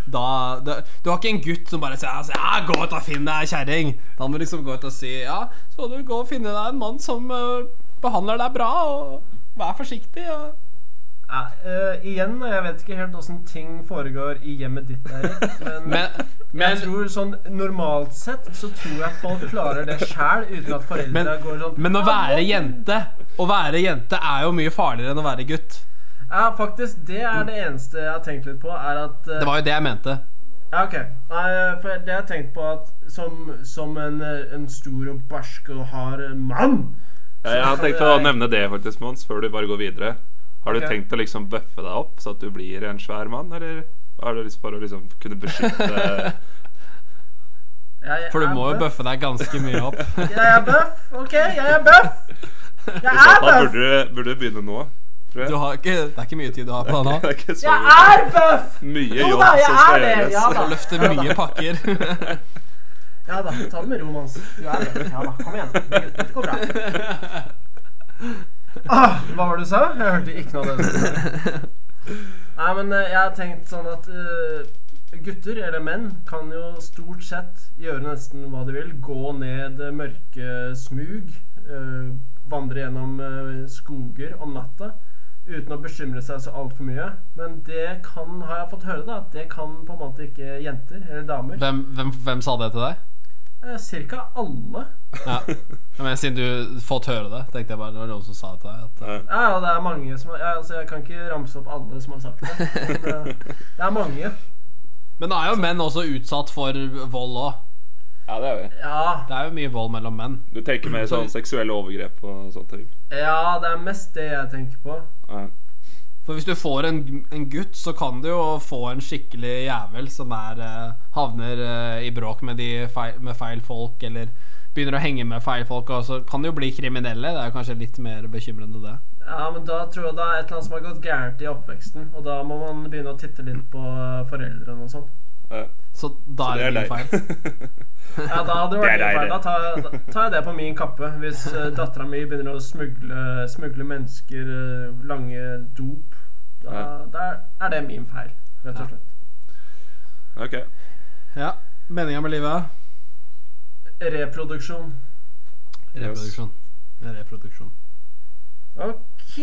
Da, da, du har ikke en gutt som bare sier altså, ja, 'Gå ut og finn deg ei kjerring'. Da må du liksom gå ut og si 'Ja, så må du gå og finne deg en mann som eh, behandler deg bra', og vær forsiktig. Og
Ja, eh, igjen, jeg vet ikke helt åssen ting foregår i hjemmet ditt, Erik. Men,
Men- men-
jeg tror sånn normalt sett så tror jeg folk klarer det sjæl, uten at
Men,
foreldra går sånn
men å
«Ah,
være
nå-
jente Å være jente er jo mye farligere enn å være gutt.
Ja, faktisk. Det er det eneste jeg har tenkt litt på, er at eh,
Det var jo det jeg mente.
Ja, ok. Nei, eh, for det jeg har tenkt på at som, som en, eh, en stor og barsk og hard eh, mann
Ja, jeg har tenkt å nevne det, faktisk, Mons, før du bare går videre. Har du
Ok.
tenkt å liksom bøffe deg opp, så at du blir en svær mann, eller har du lyst for å liksom kunne beskytte
jeg
For
er
du må jo
bøff.
bøffe deg ganske mye opp.
Jeg er bøff, OK? Jeg er bøff! Jeg
I
er
så fall
bøff!
burde du, burde du begynne nå, tror
Du
jeg.
har ikke, det er ikke mye tid du har på deg
Det
nå.
er ikke så
Jeg er bøff!
mye
Jo
jobb
da, jeg
som
er
skal
det,
gjøres.
ja da.
Og løfter mye pakker.
Ja da, ta det med ro, Mons. Du er bøff. Ja da, kom igjen. Det går bra. Ah, hva var det du sa? Jeg hørte ikke noe av det du sa. Nei, men eh, jeg har tenkt sånn at eh, gutter, eller menn, kan jo stort sett gjøre nesten hva de vil. Gå ned eh, mørke smug, eh, vandre gjennom eh, skoger om natta uten å bekymre seg så altfor mye. Men det kan, har jeg fått høre, da, at det kan på en måte ikke jenter eller damer.
Hvem, hvem, hvem sa det til deg?
Eh, Cirka alle.
Ja. Ja, Men Siden du fått høre det, tenkte jeg bare det var noen som sa det til deg. At, eh.
Ja.
Ja, ja, det er mange som har ja, altså, Jeg kan ikke ramse opp alle som har sagt det. Men, eh, det er mange.
Men nå er jo menn også utsatt for vold òg.
ja, det er vi.
Ja,
Det er jo mye vold mellom menn.
Du tenker mer sånn seksuelle overgrep og sånne ting.
ja, det er mest det jeg tenker på.
Ja.
For hvis du får en, en gutt, så kan du jo få en skikkelig jævel som er, eh, havner eh, i bråk med, de feil, med feil folk, eller begynner å henge med feil folk, og så kan de jo bli kriminelle. Det er jo kanskje litt mer bekymrende, det.
Ja, men da tror jeg det er et eller annet som har gått gærent i oppveksten. Og da må man begynne å titte litt på eh, foreldrene og sånn.
Ja.
Så da er
Det er
det din feil.
deg.
Ja, da hadde det
Det er
vært min
deg,
feil.
det.
Da tar, jeg- da tar jeg det på min kappe. Hvis uh, dattera mi begynner å smugle, smugle mennesker, eh, lange dop, da,
Ja.
da er det min feil, rett og slett.
ok.
Ja. Meninga med livet?
Reproduksjon.
Reproduksjon. Reproduksjon.
Ok,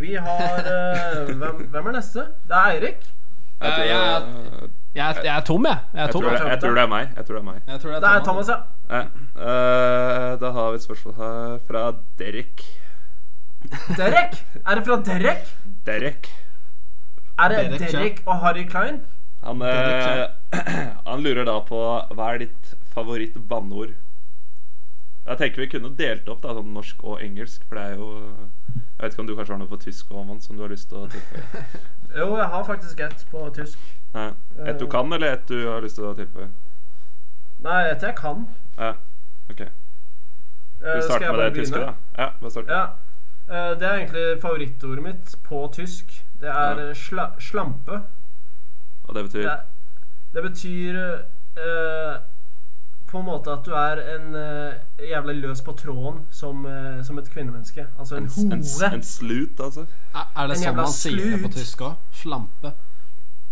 vi har eh, hvem, hvem er neste? Det er Eirik.
Jeg tror,
Eh, jeg- Jeg er, jeg er tom, jeg. Jeg er
jeg,
tom.
tror det, jeg tror det er meg. Jeg tror det er meg.
Jeg tror
Det er Thomas, ja.
Ja. Eh, da har vi et spørsmål her fra Derek.
Derek. Er det fra Derek?
Derek.
Er det
Derek,
Derek,
ja.
og Harry Klein?
Han, eh,
Derek,
han lurer da på hva er ditt favoritt-banneord? Jeg tenker vi kunne delt opp da, sånn norsk og engelsk, for det er jo Jeg vet ikke om du kanskje har noe på tysk også, Mons, som du har lyst til å tilføye?
Jo, jeg har faktisk ett på tysk.
Nei.
Eh.
Et du kan, eller et du har lyst til å tilføye?
Nei, et jeg kan.
Ja. Ok.
Eh,
Vi
skal jeg
starter
bare
med det tyske, da. Ja, bare start.
Ja. Eh, det er egentlig favorittordet mitt på tysk. Det er
Ja.
eh, sla slampe.
Og det betyr
Det, er, det betyr eh, på en måte at du er en eh, jævlig løs på tråden som, eh, som et kvinnemenneske. Altså en,
en,
hore.
en slut, altså.
Er, er
En
det sånn
jævla
man sier det på
slut.
tysk òg? Slampe.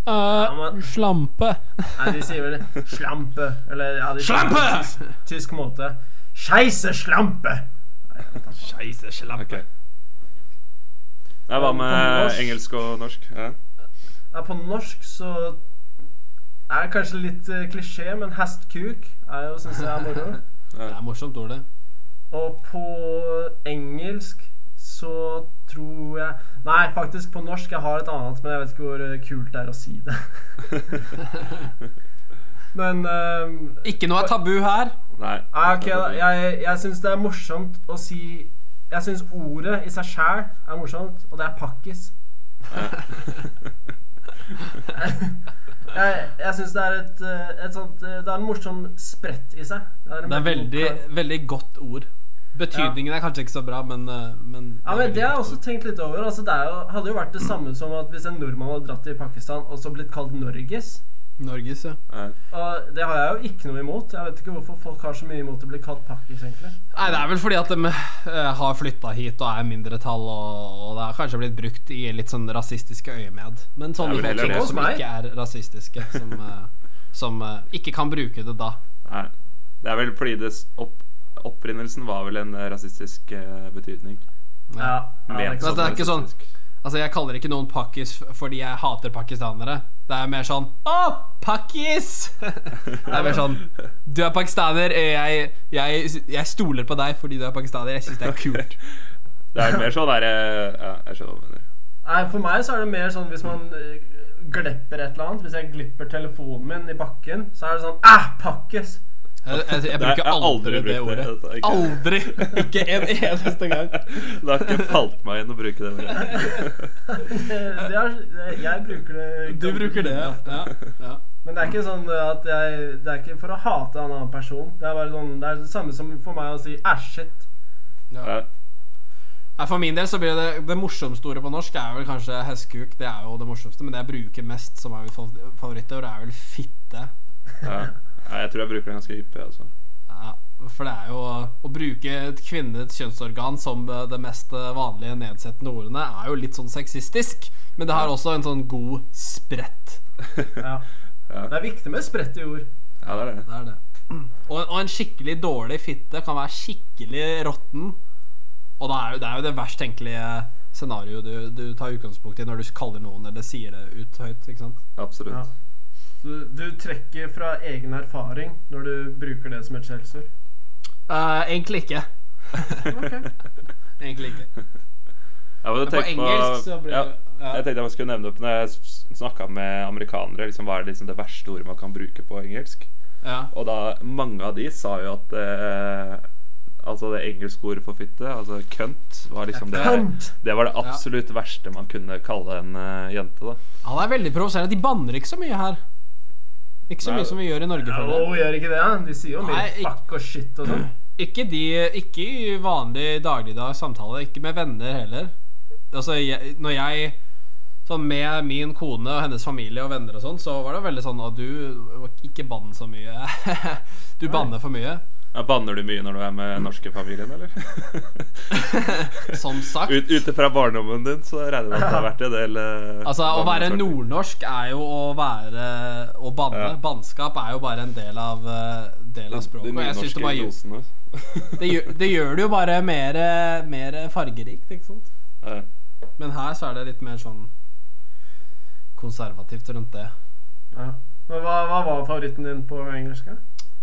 Eh,
men-
slampe.
Nei, de sier vel slampe. Eller ja, de sier det på
Slampe!
Tysk, tysk måte. Scheisse slampe!
Scheisse, slampe.
Ok. Nei, hva
På
med
norsk.
engelsk og norsk? Ja.
Ja, på norsk så er det kanskje litt eh, klisjé, men hestkuk er jo, syns jeg, er moro.
Det er morsomt ord, det.
Og på engelsk så tror jeg Nei, faktisk på norsk. Jeg har et annet, men jeg vet ikke hvor eh, kult det er å si det. men ehm,
Ikke noe er tabu her.
Nei.
ja, Ah, ok, da. Jeg, jeg syns det er morsomt å si Jeg syns ordet i seg sjæl er morsomt, og det er pakkis. jeg jeg syns det er et, eh, et sånt eh, Det er en morsom sprett i seg. en
Det er
morsom
veldig,
kar-
veldig godt ord. Betydningen er kanskje ikke så bra, men, eh, men
Ja, men
veldig
Det har jeg
godt
også
ord.
tenkt litt over. Altså, det er jo, hadde jo vært det samme som at hvis en nordmann hadde dratt til Pakistan og så blitt kalt Norges.
Norges, ja.
Nei.
Og det har jeg jo ikke noe imot. Jeg vet ikke hvorfor folk har så mye imot å bli kalt pakkis, egentlig.
Nei, det er vel fordi at de eh, har flytta hit og er mindretall, og, og det har kanskje blitt brukt i litt sånn rasistiske øyemed. Men sånne
Det er
folk
vel heller det
som
som er.
ikke er rasistiske, som, eh, som eh, ikke kan bruke det da.
Nei. Det er vel fordi det s- opp, opprinnelsen var vel en eh, rasistisk eh, betydning.
Ja, ja, det er
Ment
ikke
Men
som
sant.
det er ikke sånn-
rasistisk.
Altså, jeg kaller ikke noen pakkis f- fordi jeg hater pakistanere. Det er mer sånn Å, pakkis! det er mer sånn Du er pakistaner, eh, jeg, jeg, jeg stoler på deg fordi du er pakistaner. Jeg syns det er kult.
Det er mer sånn der eh, Ja, jeg skjønner hva du mener.
Nei, for meg så er det mer sånn hvis man eh, glepper et eller annet. Hvis jeg glipper telefonen min i bakken, så er det sånn Æh, pakkes!
Jeg, jeg, jeg
Nei, jeg
bruker
har aldri
aldri det
brukt det,
ordet.
altså, ikke-
Aldri! Ikke en eneste gang.
Det har ikke falt meg inn å bruke det ordet.
Det det er, det- jeg bruker det
Du bruker det, ja. ja. ja.
Men det er ikke sånn at jeg Det er ikke for å hate en annen person. Det er bare sånn Det er det samme som for meg å si æsj, shit.
Ja.
Nei, For min del så blir det det morsomste ordet på norsk er vel kanskje hestkuk. Det er jo det morsomste, men det jeg bruker mest, som er mitt favor- favorittord, er vel fitte.
Ja. Nei, jeg tror jeg bruker det ganske hyppig. Altså.
Ja, for det er jo Å bruke et kvinnets kjønnsorgan som eh, det mest eh, vanlige nedsettende ordene, er jo litt sånn sexistisk. Men det har også en sånn god spredt.
Ja.
Ja.
Det er viktig med spredt i ord.
Ja, det er det.
Det er det. Og, og en skikkelig dårlig fitte kan være skikkelig råtten. Og da er jo, det er jo det verst tenkelige scenarioet du, du tar utgangspunkt i når du kaller noen eller sier det ut høyt. ikke sant?
Ja.
Absolutt.
Du, du trekker fra egen erfaring når du bruker det som et skjellsord.
Eh, egentlig ikke. Egentlig ikke.
Ja, men
Men
jeg
på
tenkte
engelsk så blir
ja,
det- ja.
Jeg tenkte jeg skulle nevne opp når jeg snakka med amerikanere, liksom, hva er det, liksom, det verste ordet man kan bruke på engelsk?
Ja.
Og da, mange av de sa jo at eh, Altså det engelske ordet for fitte, altså kønt, var liksom det
Kønt!
Det var det absolutt verste man kunne kalle en eh, jente, da.
Ja, det er veldig provoserende. De banner ikke så mye her. Ikke så
Nei. oh,
mye som vi gjør i Norge.
Ja,
føler jeg.
og gjør ikke det? ja. De sier jo mye
Nei, ikke-
fuck og shit og sånn.
Ikke, de, ikke i vanlig dagligdags samtale, ikke med venner heller. Altså, jeg, når jeg Sånn med min kone og hennes familie og venner og sånn, så var det veldig sånn at du ikke bann så mye. Du banner for mye.
Ja, banner du mye når du er med den norske familien, eller?
Som sagt.
Ut, ut ifra barndommen din så regner jeg med at det har vært en del eh,
Altså, å være
bannesorter.
nordnorsk er jo å være Å banne.
Ja.
Bannskap er jo bare en del av, eh, del av språket.
De
Og jeg synes det,
nynorske
bare, gjør-
losene.
det, gjør, det gjør det jo bare mer, eh, mer fargerikt, ikke sant?
Ja.
Men her så er det litt mer sånn konservativt rundt det.
Ja. Men hva, hva var favoritten din på engelsk? da?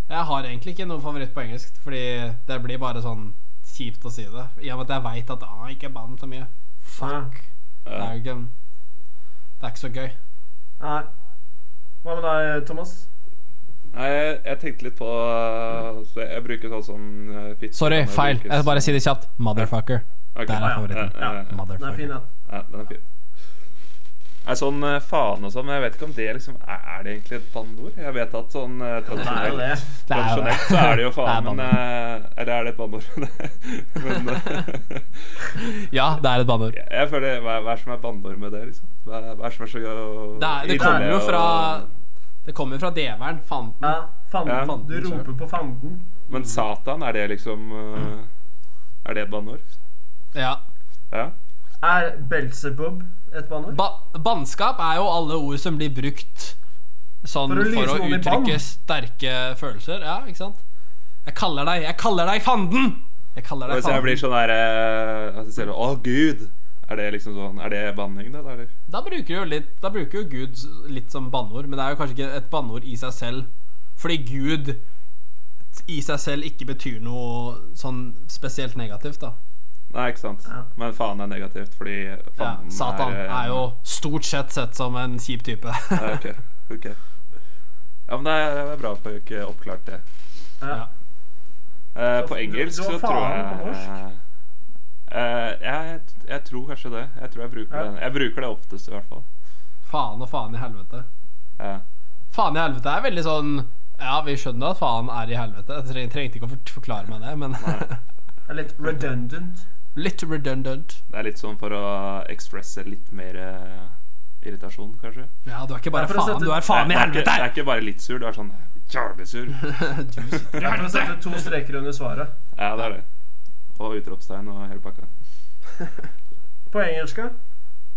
Jeg har egentlig ikke noen favoritt på engelsk, fordi det blir bare sånn kjipt å si det. I og med at jeg veit at ah, ikke bann så mye. Fuck. Det er jo ikke Det er ikke så gøy.
Nei. Hva med deg, Thomas?
Nei, jeg, jeg tenkte litt på eh, så jeg, jeg bruker sånn som eh, fitte
Sorry,
kan jo
feil.
brukes-
Jeg bare si det kjapt. Motherfucker.
Ok.
Der er
Ja,
favoritten.
ja, ja, ja.
Den er fin,
Motherfucker.
den.
Ja, den er fin. Nei, sånn eh, faen og sånn, men jeg vet ikke om det liksom Er, er det egentlig et banneord? Jeg vet at sånn
Det
eh,
er jo
tradisjonelt
det.
Det er jo det.
Tradisjonelt så er det jo faen,
Det er
men eh, Eller er det et banneord? men eh,
Ja, det er et banneord.
jeg, jeg føler Hva, hva er det som er banneord med det, liksom? Hva, hva er det som er så gøy?
Det, er, det kommer jo fra Det kommer jo fra djevelen. Fanden.
Ja,
Ja.
fanden. Du roper på fanden.
Men Satan, er det liksom eh, Er det et banneord?
Ja.
Ja?
Er Belzebub et banneord?
Ba bannskap er jo alle ord som blir brukt sånn
For
for
å
å,
lyse noen i bann.
uttrykke sterke følelser. Ja, ikke sant? Jeg kaller deg Jeg kaller deg fanden! Jeg kaller deg
Hvis jeg
fanden.
blir sånn der eh, at jeg sier, Å, Gud! Er det liksom sånn Er det banning, det, da, eller?
Da bruker jo litt Da bruker jo Gud s- litt som banneord, men det er jo kanskje ikke et banneord i seg selv. Fordi Gud i seg selv ikke betyr noe sånn spesielt negativt, da.
Nei, ikke sant.
Ja.
Men faen er negativt, fordi
Ja,
faen
Satan
eh,
er jo stort sett sett som en kjip type.
Ja, ok, ok. Ja, men det er, det er bra at vi ikke oppklarte det.
ja.
Eh,
Så
på
du-
engelsk
du har
så tror jeg
faen på norsk?
eh, jeg, jeg tror kanskje det. Jeg tror jeg bruker
Ja.
det Jeg bruker det oftest, i hvert fall.
Faen og faen i helvete.
Ja.
Faen i helvete er veldig sånn Ja, vi skjønner at faen er i helvete. Jeg treng, trengte ikke å fort- forklare meg det, men
Det er litt redundant.
Litt redundant.
Det er litt sånn for å ekspresse litt mer eh, irritasjon, kanskje.
Ja, du er ikke bare
Ja, for å
faen,
sette-
du er faen i
det, er ikke, det
helvete!
er ikke bare litt sur, du er sånn jævlig sur.
Det er for å sette to streker under svaret.
Ja, det er det. Og utropstegn og hele pakka.
På engelsk ja.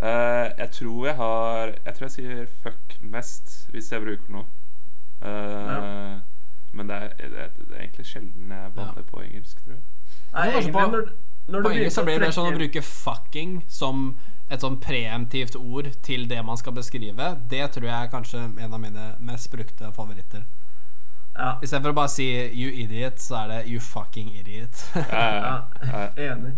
Eh, jeg tror jeg har Jeg tror jeg sier fuck mest hvis jeg bruker noe. Eh,
Ja.
Men det er, det, er, det er egentlig sjelden jeg banner på engelsk, tror jeg.
Nei,
Det er kanskje
egentlig,
på-
når, når du
På engelsk
begynte
så
å
blir det mer sånn å
trekke-
bruke 'fucking' som et sånn preemptivt ord til det man skal beskrive. Det tror jeg er kanskje en av mine mest brukte favoritter.
Ja.
Istedenfor å bare si 'you idiot', så er det 'you fucking idiot'.
Eh,
Ja,
eh,
enig.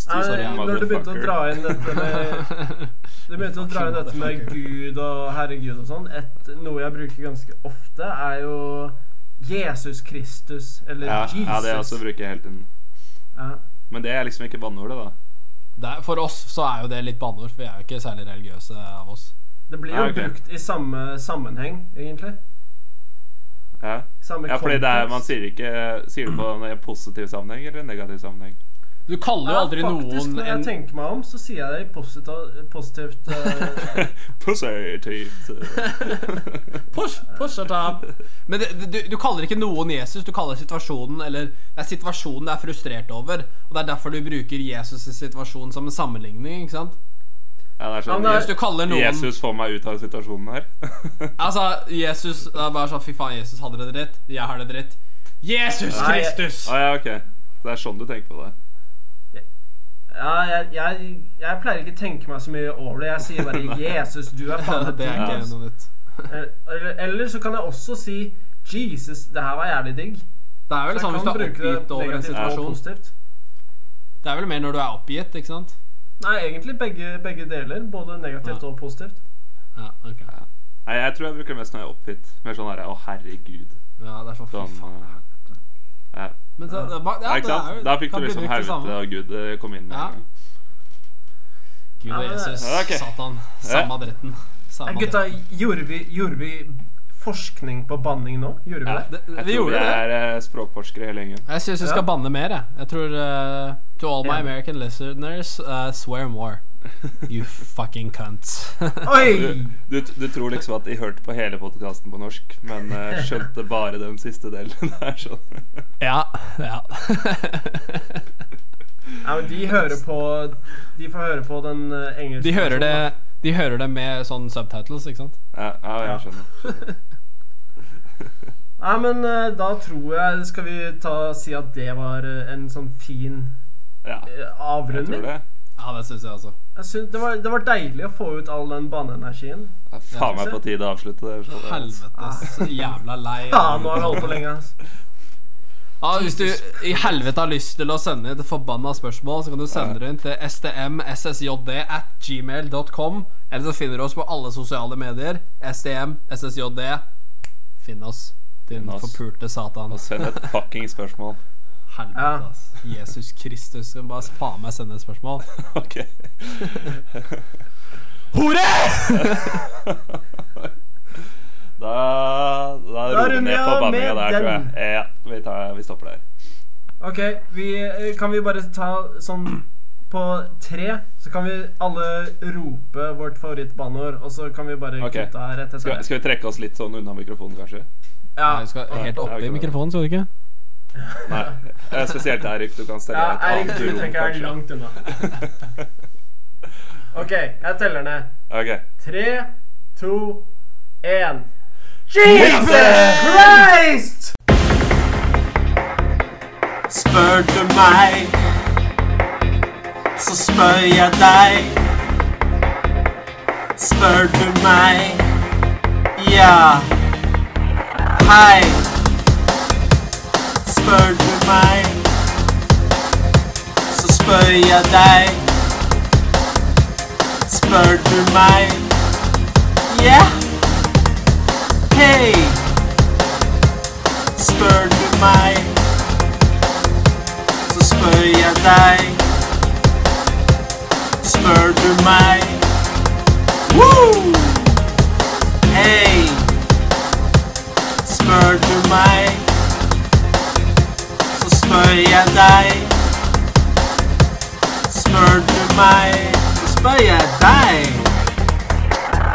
Stu-
Nei,
sorry,
når du begynte å
motherfucker.
dra inn dette med Du begynte å dra inn dette med Gud og herregud og sånn. Et, noe jeg bruker ganske ofte, er jo Jesus Kristus, eller
ja,
Jesus.
ja, det også bruker jeg hele tiden.
Ja.
Men det er liksom ikke banneordet, da.
Det er- For oss så er jo det litt banneord, for vi er jo ikke særlig religiøse av oss.
Det blir jo
Ja, ok.
brukt i samme sammenheng, egentlig.
Ja,
Samme
ja fordi det er, man
kontekst.
sier ikke Sier det på en positiv sammenheng eller en negativ sammenheng?
Du kaller jo
Ja,
aldri
faktisk,
noen
når jeg
en
tenker meg om, så sier jeg det i posita- positivt eh,
Positivt.
Push, push it up. Men det, det- du, du kaller ikke noen Jesus, du kaller situasjonen Eller det er situasjonen du er frustrert over. Og det er derfor du bruker Jesus' situasjon som en sammenligning. ikke sant?
Ja, det er
Ja, men
Hvis
sånn
du kaller noen
Jesus får meg ut av situasjonen her.
Altså, Jesus det er bare sånn Fy faen, Jesus hadde det dritt. Jeg har det dritt. Jesus
Nei, jeg-
Kristus!
Å Ah, ja, ok. Det er sånn du tenker på det.
Ja, jeg, jeg, jeg pleier ikke å tenke meg så mye over det. Jeg sier bare 'Jesus, du er faen meg
det
digg'.
er ikke
ass.
noe nytt.
Eller, eller så kan jeg også si 'Jesus, det her var jævlig digg'.
Det er vel
Jeg
sånn hvis du
kan
er
bruke
oppgitt
det
over en
negativt og
situasjon.
positivt.
Det er vel mer når du er oppgitt, ikke sant?
Nei, egentlig begge, begge deler. Både negativt
Ja.
og positivt.
Ja, ok
Ja. Nei, jeg tror jeg bruker det mest når jeg er oppgitt. Mer sånn herre Å, herregud.
Ja, det er sånn,
Sånn
fy faen.
eh, ja.
Men så, det er bare, ja,
ja, ikke
det er
sant?
jo-
Da fikk
kan bli
du liksom
brukt det
helvete
samme.
og Gud eh, kom inn. med
Ja.
en gang.
Gud og
Ja, men det-
Jesus,
Ja, ok.
Satan, samme dritten. Samme
Nei, gutta,
dritten.
gjorde vi, gjorde vi forskning på banning nå? Gjorde vi
Ja,
det?
Det,
Jeg
vi
tror
gjorde
vi
det.
er eh, språkforskere hele gjengen.
Jeg syns vi skal
Ja.
banne mer. Jeg, jeg tror eh, To all my
Enig.
American listeners, eh, swear more. You fucking cunt.
Oi!
Du, du, du tror liksom at de hørte på hele podkasten på norsk, men eh, skjønte bare den siste delen. Det er sånn.
ja. ja
Ja, men de hører på De får høre på den eh, engelske
De hører det
versjonen,
De hører det med sånn subtitles, ikke sant?
Ja, ja,
Ja.
jeg skjønner.
da. Nei, men eh, da tror jeg Skal vi ta, si at det var eh, en sånn fin
Ja,
eh,
jeg
avrunding?
tror det.
Ja, det syns jeg også.
Jeg synes det, var, det var deilig å få ut all den baneenergien.
Ja, faen meg på tide å avslutte det. sånn, ja.
Helvetes jævla lei.
Ja, nå har vi holdt på lenge. ass.
Ja, hvis du i helvete har lyst til å sende inn et forbanna spørsmål, så kan du sende det inn til stmssjd at gmail.com. Eller så finner du oss på alle sosiale medier. STM, SSJD. Finn oss, din
Finn oss.
forpulte satan.
Og send et fucking spørsmål.
Helvete,
Ja.
ass. Jesus Kristus. Skal bare faen meg sende et spørsmål.
Ok.
Hore!
Da, da roer vi
runder
ned
jeg
på
av
banninga
med
der, tror jeg.
den.
Ja, vi, tar, vi stopper der.
Ok, vi, eh, kan vi bare ta sånn på tre, så kan vi alle rope vårt favorittbanneord, og så kan vi bare
Ok.
kutte her rett etter
Skal,
det.
skal vi trekke oss litt sånn unna mikrofonen, kanskje?
Ja,
Du skal helt oppe
Ja, det er
i
ikke bra.
mikrofonen, skal du ikke?
Nei. Eh, Spesielt Erik. Du kan stelle
ja
et
Eirik,
annet
du
rom,
trekker deg
kanskje.
langt unna. Ok, jeg teller ned.
Ok.
Tre, to, én. Jesus Christ!
Spør du meg, så spør jeg deg. Spør du meg, ja. Hei. Spør du meg, så spør jeg deg. Spør du meg, ja. Hei. Spør du meg så spør jeg deg. Spør du meg? Woo! Hei! Spør du meg, så spør jeg deg. Spør du meg, så
spør jeg deg.